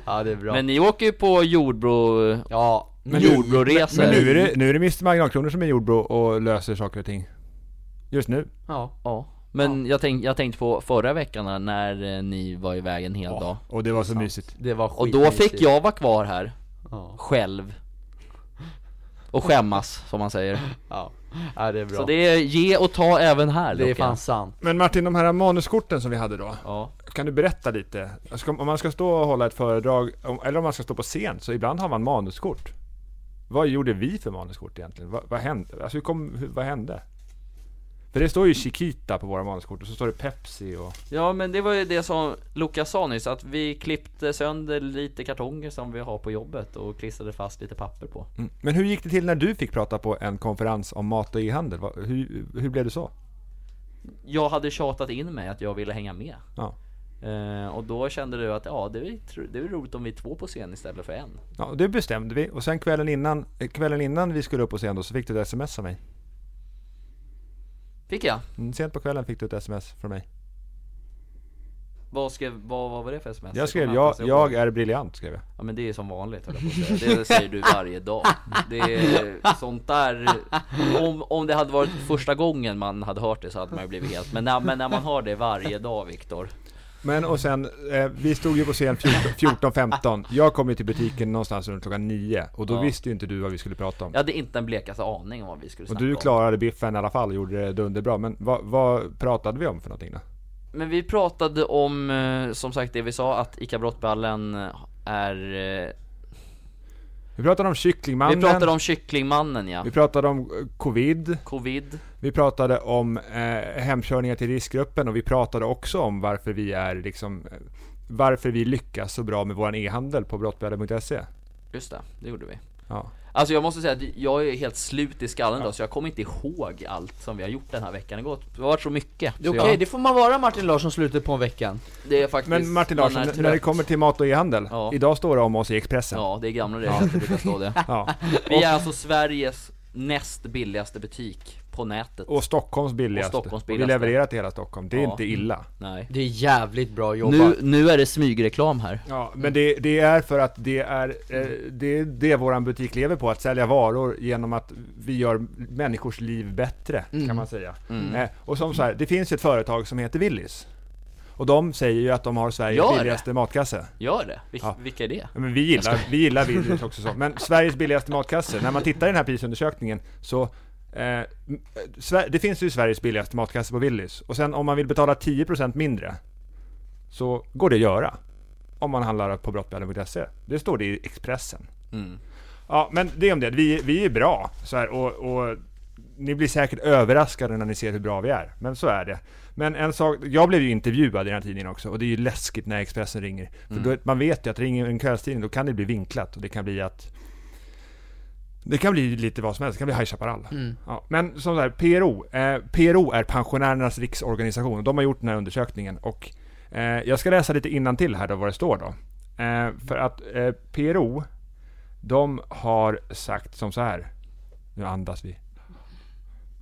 Speaker 2: Ja, det är bra.
Speaker 1: Mm. Men ni åker ju på jordbro,
Speaker 2: ja, men
Speaker 1: jordbroresor.
Speaker 3: Men nu är det, nu är det Mr Marginalkronor som är i jordbro och löser saker och ting. Just nu.
Speaker 2: ja.
Speaker 1: Ja, men Jag, tänk, jag tänkte på förra veckan när eh, ni var iväg en hel dag
Speaker 3: Och det var så mysigt.
Speaker 2: Det var
Speaker 1: Och då fick jag vara kvar här,
Speaker 2: Ja.
Speaker 1: själv Och skämmas, som man
Speaker 2: *laughs*
Speaker 1: säger
Speaker 2: Ja, ja det är bra.
Speaker 1: Så det är ge och ta även här
Speaker 2: det är
Speaker 1: Luca.
Speaker 2: fan sant.
Speaker 3: Men Martin, de här manuskorten som vi hade då.
Speaker 1: Ja,
Speaker 3: Kan du berätta lite? Ska, om man ska stå och hålla ett föredrag, om, eller om man ska stå på scen, så ibland har man manuskort. Vad gjorde vi för manuskort egentligen? Vad, vad hände? Alltså, hur kom, hur, vad hände? För det står ju Chiquita på våra manuskort och så står det Pepsi och...
Speaker 1: ja men det var ju det som Luca sa nyss, att vi klippte sönder lite kartonger som vi har på jobbet och klistrade fast lite papper på
Speaker 3: Mm. Men hur gick det till när du fick prata på en konferens om mat och e-handel? Vad- Hur, hur blev det så?
Speaker 1: Jag hade tjatat in mig att jag ville hänga med
Speaker 3: Ja.
Speaker 1: eh, Och då kände du att ja, det är, tr- det är roligt om vi är två på scen istället för en
Speaker 3: ja, och det bestämde vi och sen kvällen innan, eh, kvällen innan vi skulle upp på scen då så fick du ett sms av mig.
Speaker 1: Fick jag?
Speaker 3: Mm, sent på kvällen fick du ett sms från mig.
Speaker 1: Vad, skrev, vad, vad var det för sms?
Speaker 3: Jag skrev
Speaker 1: kommer inte
Speaker 3: jag,
Speaker 1: ens ihåg.
Speaker 3: jag är briljant, skrev jag.
Speaker 1: Ja men det är som vanligt höll jag på att säga. Det säger du varje dag. *laughs* Det är sånt där. Om, om det hade varit första gången man hade hört det så hade man ju blivit helt. Men när, men när man hör det varje dag Viktor.
Speaker 3: Men och sen, eh, vi stod ju på scen *laughs* 14-15, jag kom ju till butiken någonstans runt klockan 9 och då
Speaker 1: Ja.
Speaker 3: visste ju inte du vad vi skulle prata om.
Speaker 1: Jag hade inte en blekaste aning om vad vi skulle
Speaker 3: och
Speaker 1: snacka
Speaker 3: du
Speaker 1: om.
Speaker 3: klarade biffen i alla fall och gjorde det dunderbra, men vad, vad pratade vi om för någonting då?
Speaker 1: Men vi pratade om, eh, som sagt det vi sa, att ICA Brottballen är... eh,
Speaker 3: Vi pratade om kycklingmannen,
Speaker 1: Vi pratade om Kycklingmannen ja.
Speaker 3: vi pratade om eh, covid,
Speaker 1: Covid.
Speaker 3: vi pratade om eh, hemkörningar till riskgruppen och vi pratade också om varför vi är liksom eh, varför vi lyckas så bra med vår e-handel på brottbjörnen.se.
Speaker 1: Just det, det gjorde vi.
Speaker 3: E. Ja.
Speaker 1: Alltså jag måste säga att jag är helt slut i skallen då, så jag kommer inte ihåg allt som vi har gjort den här veckan. Det har gått- det har varit så mycket.
Speaker 2: Det är
Speaker 1: så
Speaker 2: okej,
Speaker 1: jag-
Speaker 2: det får man vara Martin Larsson slutet på en veckan.
Speaker 1: det är faktiskt...
Speaker 3: Men Martin
Speaker 1: man
Speaker 3: Larsson,
Speaker 1: är
Speaker 3: n- när
Speaker 1: trött.
Speaker 3: det kommer till mat och e-handel.
Speaker 1: Ja.
Speaker 3: Idag står det om oss i Expressen. Ja.
Speaker 1: Ja, det är gamla regler att det brukar stå
Speaker 3: *laughs*
Speaker 1: det. Vi är alltså Sveriges näst billigaste butik på nätet.
Speaker 3: Och Stockholms billigaste.
Speaker 1: Stockholms
Speaker 3: Och vi
Speaker 1: billigaste.
Speaker 3: levererar till hela Stockholm. Det är
Speaker 1: Ja.
Speaker 3: inte illa.
Speaker 1: Nej.
Speaker 2: Det är jävligt bra jobbat.
Speaker 1: Nu, nu är det smygreklam här.
Speaker 3: Ja, men det, det är för att det är eh, det, är det våran butik lever på, att sälja varor genom att vi gör människors liv bättre,
Speaker 1: Mm.
Speaker 3: kan man säga. Eh, och som så här, det finns ju ett företag som heter Willys. Och de säger ju att de har Sveriges
Speaker 1: Gör det?
Speaker 3: billigaste matkasse.
Speaker 1: Gör det? Vil-
Speaker 3: Ja.
Speaker 1: Vilka är det?
Speaker 3: Ja, Men vi gillar, vi gillar Willys också så. Men Sveriges billigaste matkasse, när man tittar i den här prisundersökningen så eh, m- eh, Sver- det finns ju Sveriges billigaste matkasse på Willys. Och sen om man vill betala 10% mindre så går det att göra. Om man handlar på brottbjörnen.se. Det står det i Expressen. Ja, men det är om det. Vi, vi är bra. Så här, och, och ni blir säkert överraskade när ni ser hur bra vi är. Men så är det. Men en sak, jag blev ju intervjuad i den här tidningen också och det är ju läskigt när Expressen ringer. För då, man vet ju att ringer en kvällstidning då kan det bli vinklat och det kan bli att det kan bli lite vad som helst, det kan bli High Chaparral. Ja, men som sagt, PRO. Eh, PRO är Pensionärernas Riksorganisation och de har gjort den här undersökningen. Och, eh, jag ska läsa lite innantill här då vad det står då. Eh, för att eh, PRO, de har sagt som så här. Nu andas vi.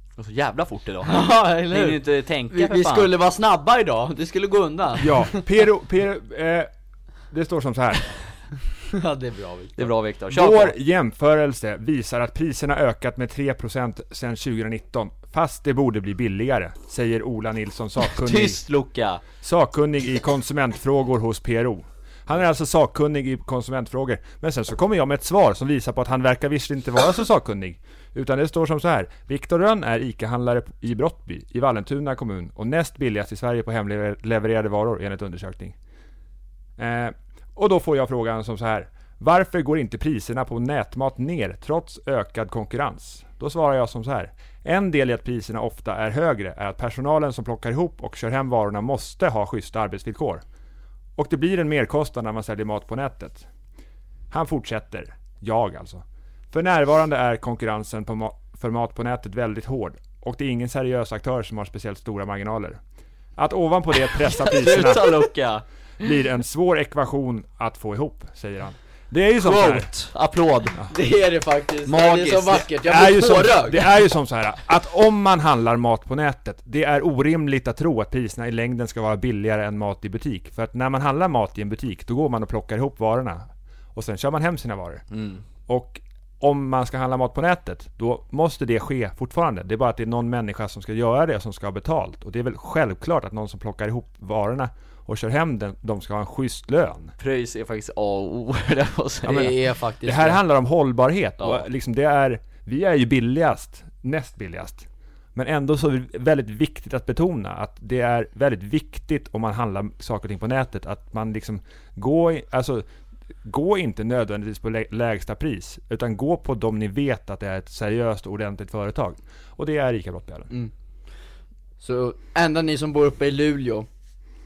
Speaker 1: Det går så jävla fort idag.
Speaker 2: *laughs* Ja, eller
Speaker 1: Hinner
Speaker 2: hur?
Speaker 1: ju inte tänka
Speaker 2: Vi,
Speaker 1: för
Speaker 2: vi
Speaker 1: fan.
Speaker 2: skulle vara snabba idag, det skulle
Speaker 1: *laughs*
Speaker 2: gå undan.
Speaker 3: Ja, PRO, PRO eh, det står som så här.
Speaker 2: Ja, det är bra Viktor.
Speaker 1: Det är bra Viktor, kör på!
Speaker 3: Vår jämförelse visar att priserna ökat med 3% sedan 2019, fast det borde bli billigare, säger Ola Nilsson, sakkunnig,
Speaker 1: Tyst Luca!
Speaker 3: sakkunnig i konsumentfrågor hos PRO. Han är alltså sakkunnig i konsumentfrågor, men sen så kommer jag med ett svar som visar på att han verkar visst inte vara så sakkunnig. Utan det står som så här. Viktor Rönn är ICA-handlare i Brottby i Vallentuna kommun och näst billigast i Sverige på hemlevererade varor enligt undersökning. Eh, och då får jag frågan som så här. Varför går inte priserna på nätmat ner trots ökad konkurrens? Då svarar jag som så här. En del i att priserna ofta är högre är att personalen som plockar ihop och kör hem varorna måste ha schyssta arbetsvillkor. Och det blir en merkostnad när man säljer mat på nätet. Han fortsätter, jag alltså. För närvarande är konkurrensen på ma- för mat på nätet väldigt hård och det är ingen seriös aktör som har speciellt stora marginaler. Att ovanpå det pressa priserna
Speaker 1: Sluta Luca!
Speaker 3: blir en svår ekvation att få ihop, säger han. Det är ju som så här,
Speaker 1: Quote! Applåd!
Speaker 2: Det är det faktiskt,
Speaker 1: Magiskt.
Speaker 2: det är så vackert,
Speaker 3: det
Speaker 2: jag
Speaker 3: är,
Speaker 2: blir
Speaker 3: ju som,
Speaker 2: tårögd!
Speaker 3: det är ju som så här att om man handlar mat på nätet, det är orimligt att tro att priserna i längden ska vara billigare än mat i butik. För att när man handlar mat i en butik, då går man och plockar ihop varorna. Och sen kör man hem sina varor.
Speaker 2: Mm.
Speaker 3: Och om man ska handla mat på nätet, då måste det ske fortfarande. Det är bara att det är någon människa som ska göra det, som ska ha betalt. Och det är väl självklart att någon som plockar ihop varorna och kör hem den, de ska ha en schysst lön.
Speaker 1: Pröjs är faktiskt A och O, höll jag på att säga.
Speaker 2: Det är faktiskt
Speaker 3: Det här handlar om hållbarhet
Speaker 1: Ja.
Speaker 3: och liksom det är, vi är ju billigast, näst billigast. Men ändå så är det väldigt viktigt att betona att det är väldigt viktigt om man handlar saker och ting på nätet att man liksom går, i- alltså gå inte nödvändigtvis på lä- lägsta pris utan gå på dem ni vet att det är ett seriöst och ordentligt företag. Och det är ICA Brottbjörnen.
Speaker 2: Så, enda ni som bor uppe i Luleå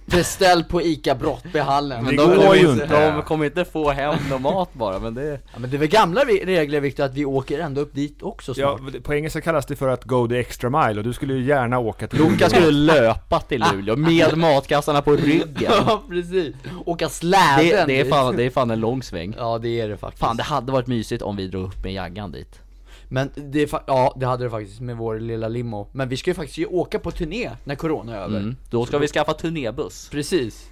Speaker 2: Beställ på ICA Brottbyhallen
Speaker 3: Det går ju inte.
Speaker 1: De kommer inte få hem någon mat bara, men det...
Speaker 2: ja, men det är väl gamla re- regler Viktor, att vi åker ända upp dit också
Speaker 3: Ja,
Speaker 2: snart
Speaker 3: på engelska kallas det för att go the extra mile och du skulle ju gärna åka till
Speaker 1: Luca skulle löpa till Luleå med matkassarna på ryggen.
Speaker 2: Ja, *laughs* precis! Åka släden
Speaker 1: Det, det, är
Speaker 2: dit.
Speaker 1: fan, det är fan en lång sväng.
Speaker 2: Ja det är det faktiskt
Speaker 1: Fan, det hade varit mysigt om vi drog upp med jaggan dit.
Speaker 2: Men det är fa- ja det hade det faktiskt med vår lilla limo Men vi ska ju faktiskt ju åka på turné när corona är över
Speaker 1: Mm. Då ska vi skaffa turnébuss.
Speaker 2: Precis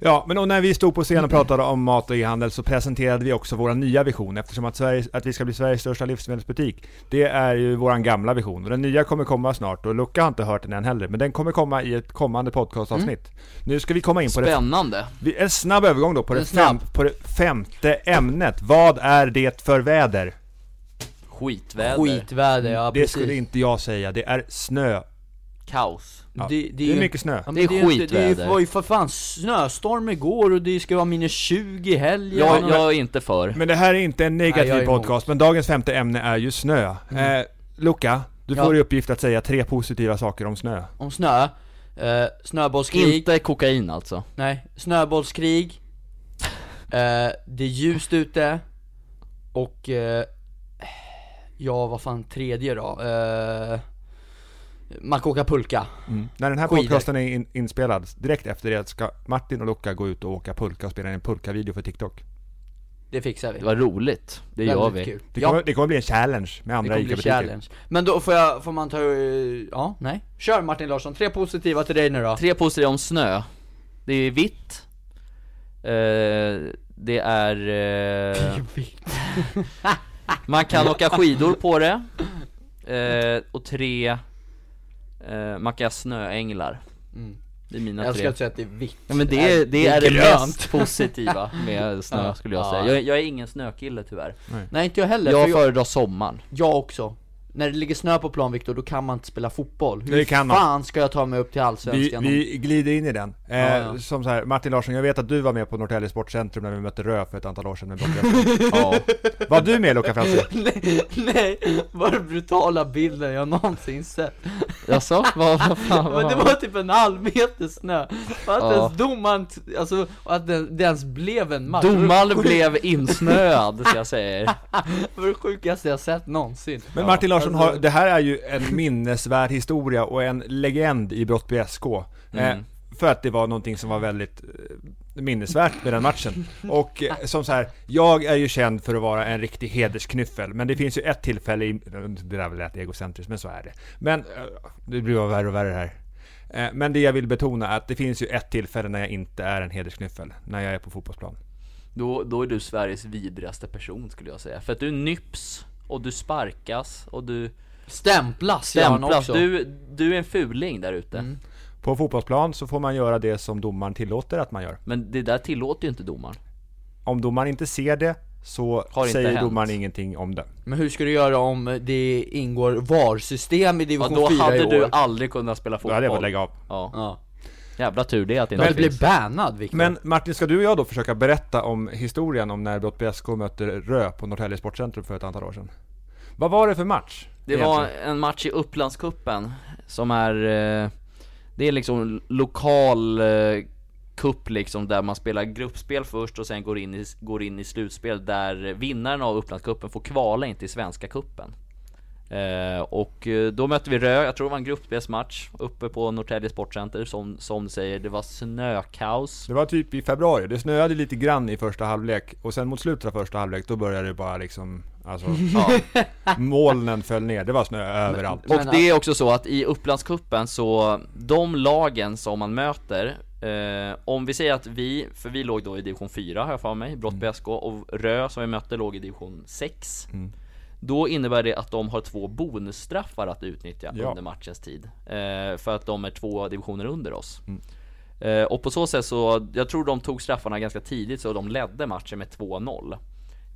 Speaker 3: Ja, men och när vi stod på scen och pratade om mat och e-handel så presenterade vi också våra nya vision eftersom att, Sverige, att vi ska bli Sveriges största livsmedelsbutik. Det är ju våran gamla vision och den nya kommer komma snart och Luca har inte hört den än heller men den kommer komma i ett kommande podcastavsnitt.
Speaker 2: Mm.
Speaker 3: Nu ska vi komma in på det,
Speaker 1: Spännande!
Speaker 3: vi- en snabb övergång då på det, fem,
Speaker 2: snabb.
Speaker 3: på det femte ämnet. Vad är det för väder?
Speaker 1: Skitväder.
Speaker 2: Skitväder, ja
Speaker 3: Det
Speaker 2: precis
Speaker 3: skulle inte jag säga, det är snö.
Speaker 1: Kaos.
Speaker 3: Ja,
Speaker 2: Det- det är
Speaker 3: det
Speaker 2: ju-
Speaker 3: är mycket snö.
Speaker 2: Ja, men
Speaker 1: Det är
Speaker 2: ju inte- Det är
Speaker 1: skitväder.
Speaker 2: ju- var ju för fan snöstorm igår och det ska vara minus 20 i helgen
Speaker 1: Jag,
Speaker 2: och-
Speaker 1: jag är inte för.
Speaker 3: Men det här är inte en negativ
Speaker 2: Nej, jag är emot. Mm.
Speaker 3: podcast, men dagens femte ämne är ju snö. Eh, Luca, du
Speaker 2: Ja.
Speaker 3: får i uppgift att säga tre positiva saker om snö.
Speaker 2: om snö Eh, snöbollskrig.
Speaker 1: Inte kokain alltså.
Speaker 2: Nej, snöbollskrig eh, Det är ljust ute Och eh, Ja, vad fan tredje då? Eh, man kan åka pulka
Speaker 3: Mm. När den här
Speaker 2: Skidor.
Speaker 3: podcasten är in, inspelad, direkt efter det ska Martin och Luca gå ut och åka pulka och spela en pulka-video för TikTok.
Speaker 2: Det fixar vi
Speaker 1: Det var roligt. Det gör
Speaker 2: Väldigt
Speaker 1: vi.
Speaker 2: kul.
Speaker 3: Det
Speaker 2: ja,
Speaker 3: kommer, det kommer bli en challenge med
Speaker 2: det
Speaker 3: andra
Speaker 2: kommer bli
Speaker 3: ICA-butiker.
Speaker 2: challenge Men då får jag, får man ta, eh, ja, nej Kör Martin Larsson, tre positiva till dig nu då
Speaker 1: Tre positiva om snö. Det är vitt. Eh, det är... Eh, man kan åka skidor på det. Eh, och tre... Eh, man kan ha snöänglar.
Speaker 2: Mm.
Speaker 1: Det är mina
Speaker 2: Jag
Speaker 1: tre.
Speaker 2: ska inte säga att det är vitt
Speaker 1: Ja, men det, är- det är det mest positiva med
Speaker 2: Ja.
Speaker 1: snö skulle jag
Speaker 2: Ja.
Speaker 1: säga. Jag, jag är ingen snökille tyvärr.
Speaker 2: Nej inte jag heller,
Speaker 1: Jag
Speaker 2: för jag,
Speaker 1: föredrar sommaren.
Speaker 2: jag också När det ligger snö på plan Viktor, då kan man inte spela fotboll Hur
Speaker 3: Det kan man.
Speaker 2: fan ska jag ta mig upp till
Speaker 3: Vi,
Speaker 2: Allsvenskan om-
Speaker 3: vi glider in i den. Eh,
Speaker 2: Ja, ja.
Speaker 3: Som så här, Martin Larsson, jag vet att du var med på Norrtälje Sportcentrum när vi mötte Rö för ett antal år
Speaker 2: *laughs*
Speaker 3: sedan med Blocket.
Speaker 1: Ja.
Speaker 3: Var du med Luca Fransson?
Speaker 2: Nej, *laughs* nej, var den brutala bilden jag någonsin sett.
Speaker 1: Jaså? Vad, vad fan?
Speaker 2: Men det
Speaker 1: Vad,
Speaker 2: var typ en halv meter snö. Och att
Speaker 1: Ja.
Speaker 2: ens domaren, t- alltså, och att den, det ens blev en match.
Speaker 1: Domaren blev insnöad, så jag säger.
Speaker 2: Det var det sjukaste jag sett någonsin.
Speaker 3: Men Martin Larsson,
Speaker 2: alltså-
Speaker 3: har, det här är ju en minnesvärd historia och en legend i Brottby SK. Eh,
Speaker 1: Mm.
Speaker 3: för att det var någonting som var väldigt eh, minnesvärt med den matchen. Och eh, som så här, jag är ju känd för att vara en riktig hedersknyffel, men det finns ju ett tillfälle i... Det där lät egocentriskt, men så är det. Men eh, det blir bara värre och värre här. Eh, Men det jag vill betona är att det finns ju ett tillfälle när jag inte är en hedersknyffel, när jag är på fotbollsplan.
Speaker 1: Då, då är du Sveriges vidrigaste person skulle jag säga. För att du nyps och du sparkas och du
Speaker 2: Stämplas, gör han
Speaker 1: stämplas. Mm.
Speaker 2: också.
Speaker 1: Du, du är en fuling där ute.
Speaker 3: På fotbollsplan så får man göra det som domaren tillåter att man gör.
Speaker 1: Men det där tillåter ju inte domaren.
Speaker 3: Om domaren inte ser det så
Speaker 1: Har inte
Speaker 3: säger
Speaker 1: hänt.
Speaker 3: domaren ingenting om det.
Speaker 2: Men hur ska du göra om det ingår VAR-system i
Speaker 1: Ja,
Speaker 2: division
Speaker 1: då
Speaker 2: 4 i
Speaker 1: hade
Speaker 2: år?
Speaker 1: du aldrig kunnat spela
Speaker 3: Då
Speaker 1: fotboll.
Speaker 3: hade jag fått lägga av.
Speaker 1: Ja.
Speaker 2: Ja.
Speaker 1: Jävla tur det att det
Speaker 2: Men
Speaker 1: inte
Speaker 2: du
Speaker 1: finns.
Speaker 2: blir bannad Viktor.
Speaker 3: Men Martin, ska du och jag då försöka berätta om historien om när Brottby SK mötte Rö på Norrtälje Sportcentrum för ett antal år sedan? Vad var det för match?
Speaker 1: Det var
Speaker 3: egentligen?
Speaker 1: en match i Upplandskuppen som är eh, Det är liksom lokal eh, cup liksom där man spelar gruppspel först och sen går in i, går in i slutspel där vinnaren av Upplandskuppen får kvala in till Svenska kuppen eh, Och eh, då mötte vi Rö, jag tror det var en gruppspelsmatch uppe på Norrtälje Sportcenter som, som säger det var snökaos
Speaker 3: det var typ i februari, det snöade lite grann i första halvlek och sen mot slutet av första halvlek då började det bara liksom,
Speaker 1: *laughs*
Speaker 3: alltså, ja, molnen föll ner, det var snö överallt.
Speaker 1: Och
Speaker 2: Men
Speaker 1: det är också så att i Upplandskuppen så, de lagen som man möter eh, Om vi säger att vi, för vi låg då i division 4 har jag för mig,
Speaker 3: Mm.
Speaker 1: Brottby SK och Rö som vi mötte låg i division 6
Speaker 3: Mm.
Speaker 1: Då innebär det att de har två bonusstraffar att utnyttja
Speaker 3: Ja.
Speaker 1: under matchens tid eh, För att de är två divisioner under oss
Speaker 3: Mm.
Speaker 1: Eh, Och på så sätt så, jag tror de tog straffarna ganska tidigt så de ledde matchen med 2-0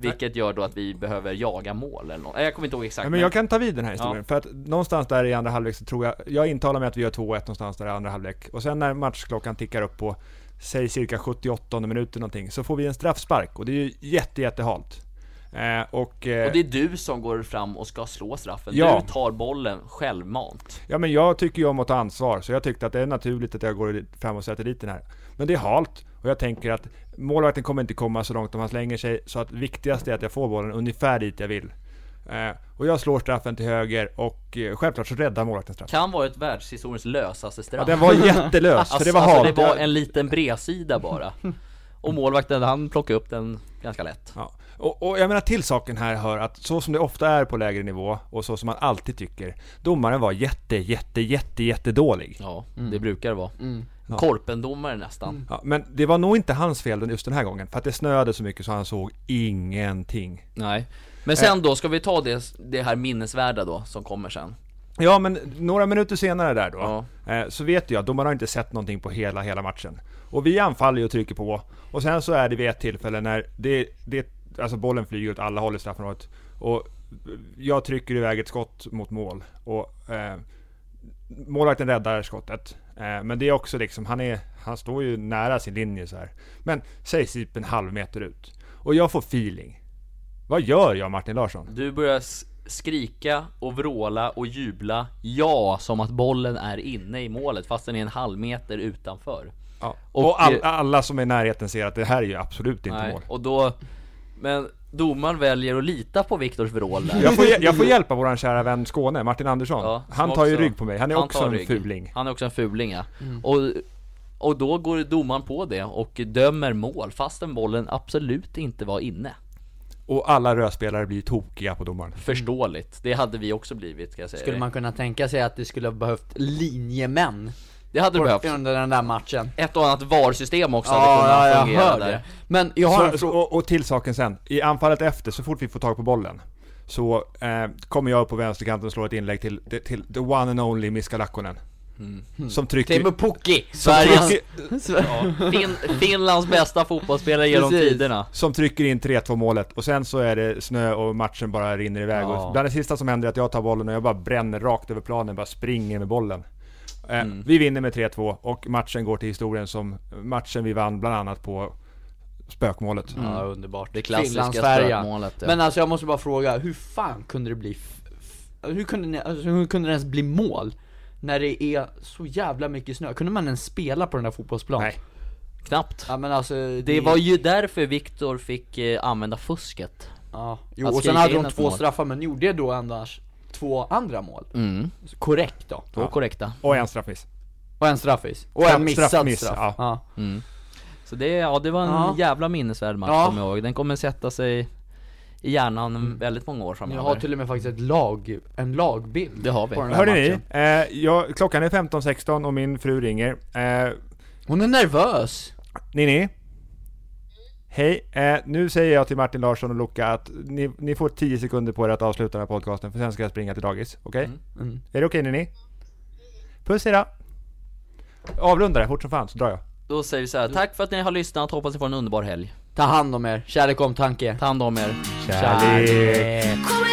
Speaker 1: Vilket gör då att vi behöver jaga mål eller något. Nej, Jag kommer inte ihåg exakt
Speaker 3: Ja, men jag kan ta vid den här historien,
Speaker 1: Ja.
Speaker 3: för att någonstans där i andra halvlek så tror jag, jag intalar mig att vi gör 2-1 någonstans där i andra halvlek, och sen när matchklockan tickar upp på, säg cirka 78 minuter någonting, så får vi en straffspark, och det är ju jätte, jättehalt. Eh, och, eh,
Speaker 1: Och det är du som går fram och ska slå straffen.
Speaker 3: Ja.
Speaker 1: Du tar bollen självmant.
Speaker 3: Ja men jag tycker ju om att ta ansvar, så jag tyckte att det är naturligt att jag går fram och sätter dit den här. Men det är halt, och jag tänker att målvakten kommer inte komma så långt om han slänger sig, så att viktigast är att jag får bollen ungefär dit jag vill. Eh, och jag slår straffen till höger, och eh, självklart så räddar målvakten straffen.
Speaker 1: Kan vara ett världshistoriens lösaste straff.
Speaker 3: Ja, den var jättelös, för det var
Speaker 1: alltså,
Speaker 3: halt.
Speaker 1: det var en liten bredsida
Speaker 3: *laughs*
Speaker 1: bara. Och målvakten han plockade upp den ganska lätt.
Speaker 3: Ja. Och, och jag menar till saken här hör att så som det ofta är på lägre nivå och så som man alltid tycker, domaren var jätte, jätte, jätte, jättedålig.
Speaker 1: Ja,
Speaker 3: Mm.
Speaker 1: det brukar det vara. Korpendomare nästan.
Speaker 3: Ja, men det var nog inte hans fel just den här gången, för att det snöade så mycket så han såg ingenting.
Speaker 1: Nej. Men
Speaker 3: Äh.
Speaker 1: sen då, ska vi ta det, det här minnesvärda då, som kommer sen?
Speaker 3: Ja, men några minuter senare där då,
Speaker 1: Ja.
Speaker 3: eh, så vet jag, domaren har inte sett någonting på hela, hela matchen. Och vi anfaller ju och trycker på, och sen så är det vid ett tillfälle när det, det, alltså bollen flyger åt alla håll i straffområdet, och jag trycker iväg ett skott mot mål, och eh, målvakten räddar skottet. Eh, men det är också liksom, han, är, han står ju nära sin linje så här. Men säg typ en halv meter ut. Och jag får feeling. Vad gör jag Martin Larsson?
Speaker 1: Du börjar s- skrika och vråla och jubla ja som att bollen är inne i målet fast den är en halv meter utanför.
Speaker 3: Ja. Och,
Speaker 1: Och-
Speaker 3: all, alla som är i närheten ser att det här är ju absolut inte
Speaker 1: Nej,
Speaker 3: mål.
Speaker 1: och då, men domaren väljer att lita på Viktors vrål där.
Speaker 3: Jag får, hj-
Speaker 1: *laughs*
Speaker 3: jag får hjälpa våran kära vän Skåne, Martin Andersson.
Speaker 1: Ja, som
Speaker 3: han tar ju
Speaker 1: också-
Speaker 3: rygg på mig, han är också
Speaker 1: tar
Speaker 3: en
Speaker 1: rygg.
Speaker 3: fuling.
Speaker 1: Han är också en fuling ja.
Speaker 2: Mm.
Speaker 1: Och, och då går domaren på det och dömer mål fastän bollen absolut inte var inne.
Speaker 3: Och alla rödspelare blir tokiga på domaren.
Speaker 1: Förståeligt. Det hade vi också blivit ska jag säga.
Speaker 2: Skulle
Speaker 1: dig.
Speaker 2: man kunna tänka sig att det skulle ha behövt linjemän
Speaker 1: Det hade behövts.
Speaker 2: under den där matchen?
Speaker 1: Ett och annat VAR-system också hade
Speaker 2: Ja,
Speaker 1: kunnat
Speaker 2: ja, jag
Speaker 1: fungera
Speaker 2: hör
Speaker 1: där.
Speaker 2: det. Men jag har
Speaker 3: Så,
Speaker 2: en
Speaker 3: så,
Speaker 2: fråga.
Speaker 3: och, och till saken sen. I anfallet efter, så fort vi får tag på bollen, så eh, kommer jag upp på vänsterkanten och slår ett inlägg till, till the one and only Miska Lakkonen.
Speaker 1: Mm.
Speaker 3: Som trycker...
Speaker 2: Teemu Pukki!
Speaker 1: Sveriges,
Speaker 3: trycker-
Speaker 1: fin, Finlands bästa fotbollsspelare genom
Speaker 2: Precis.
Speaker 1: tiderna.
Speaker 3: Som trycker in 3-2 målet och sen så är det snö och matchen bara rinner iväg.
Speaker 1: Ja.
Speaker 3: Och bland det sista som händer är att jag tar bollen och jag bara bränner rakt över planen, bara springer med bollen. Eh,
Speaker 2: Mm.
Speaker 3: Vi vinner med 3-2 och matchen går till historien som matchen vi vann bland annat på spökmålet.
Speaker 2: Ja, underbart.
Speaker 1: Det klassiska
Speaker 2: Finlandsfärja.
Speaker 1: stötmålet, ja.
Speaker 2: Men alltså jag måste bara fråga, hur fan kunde det bli... f- f- Hur kunde, ni, alltså, hur kunde det ens bli mål? När det är så jävla mycket snö, kunde man ens spela på den där fotbollsplanen?
Speaker 3: Nej.
Speaker 1: Knappt.
Speaker 2: Ja men alltså det,
Speaker 1: Det var ju därför Viktor fick eh, använda fusket.
Speaker 2: ja. jo,
Speaker 1: att
Speaker 2: och sen
Speaker 1: skrika
Speaker 2: hade
Speaker 1: in
Speaker 2: de
Speaker 1: ett
Speaker 2: två
Speaker 1: mål.
Speaker 2: straffar men gjorde då annars två andra mål
Speaker 1: Mm.
Speaker 2: Korrekt då
Speaker 1: Två korrekta.
Speaker 3: Och en straffmiss.
Speaker 2: Och en straffis, och
Speaker 3: Straff-
Speaker 2: en missad
Speaker 3: straffmiss,
Speaker 2: straff
Speaker 3: ja.
Speaker 2: Ja.
Speaker 1: Så det, ja, det var en
Speaker 2: Ja.
Speaker 1: jävla minnesvärd match
Speaker 2: Ja. Mm.
Speaker 1: kommer jag ihåg. Den kommer sätta sig i hjärnan väldigt många år
Speaker 2: Jag
Speaker 1: framöver.
Speaker 2: har till och med faktiskt ett lag, en lagbild
Speaker 1: Det har vi.
Speaker 2: på den här
Speaker 3: Hörde ni?
Speaker 2: matchen.
Speaker 3: Eh, jag, klockan är 15.16 och min fru ringer. Eh,
Speaker 2: Hon är nervös!
Speaker 3: Ninni? Hej! Eh, nu säger jag till Martin Larsson och Luca att ni, ni får 10 sekunder på er att avsluta den här podcasten för sen ska jag springa till dagis. Okej?
Speaker 2: Mm.
Speaker 3: Är det okej Ninni? Puss hejdå! Avrunda det fort som fan så drar jag.
Speaker 1: Då säger vi så här, tack för att ni har lyssnat, hoppas ni får en underbar helg.
Speaker 2: Ta hand om er, kärlek omtanke
Speaker 1: Ta hand om er.
Speaker 3: Kärlek.
Speaker 4: Kommer Ah, Ah,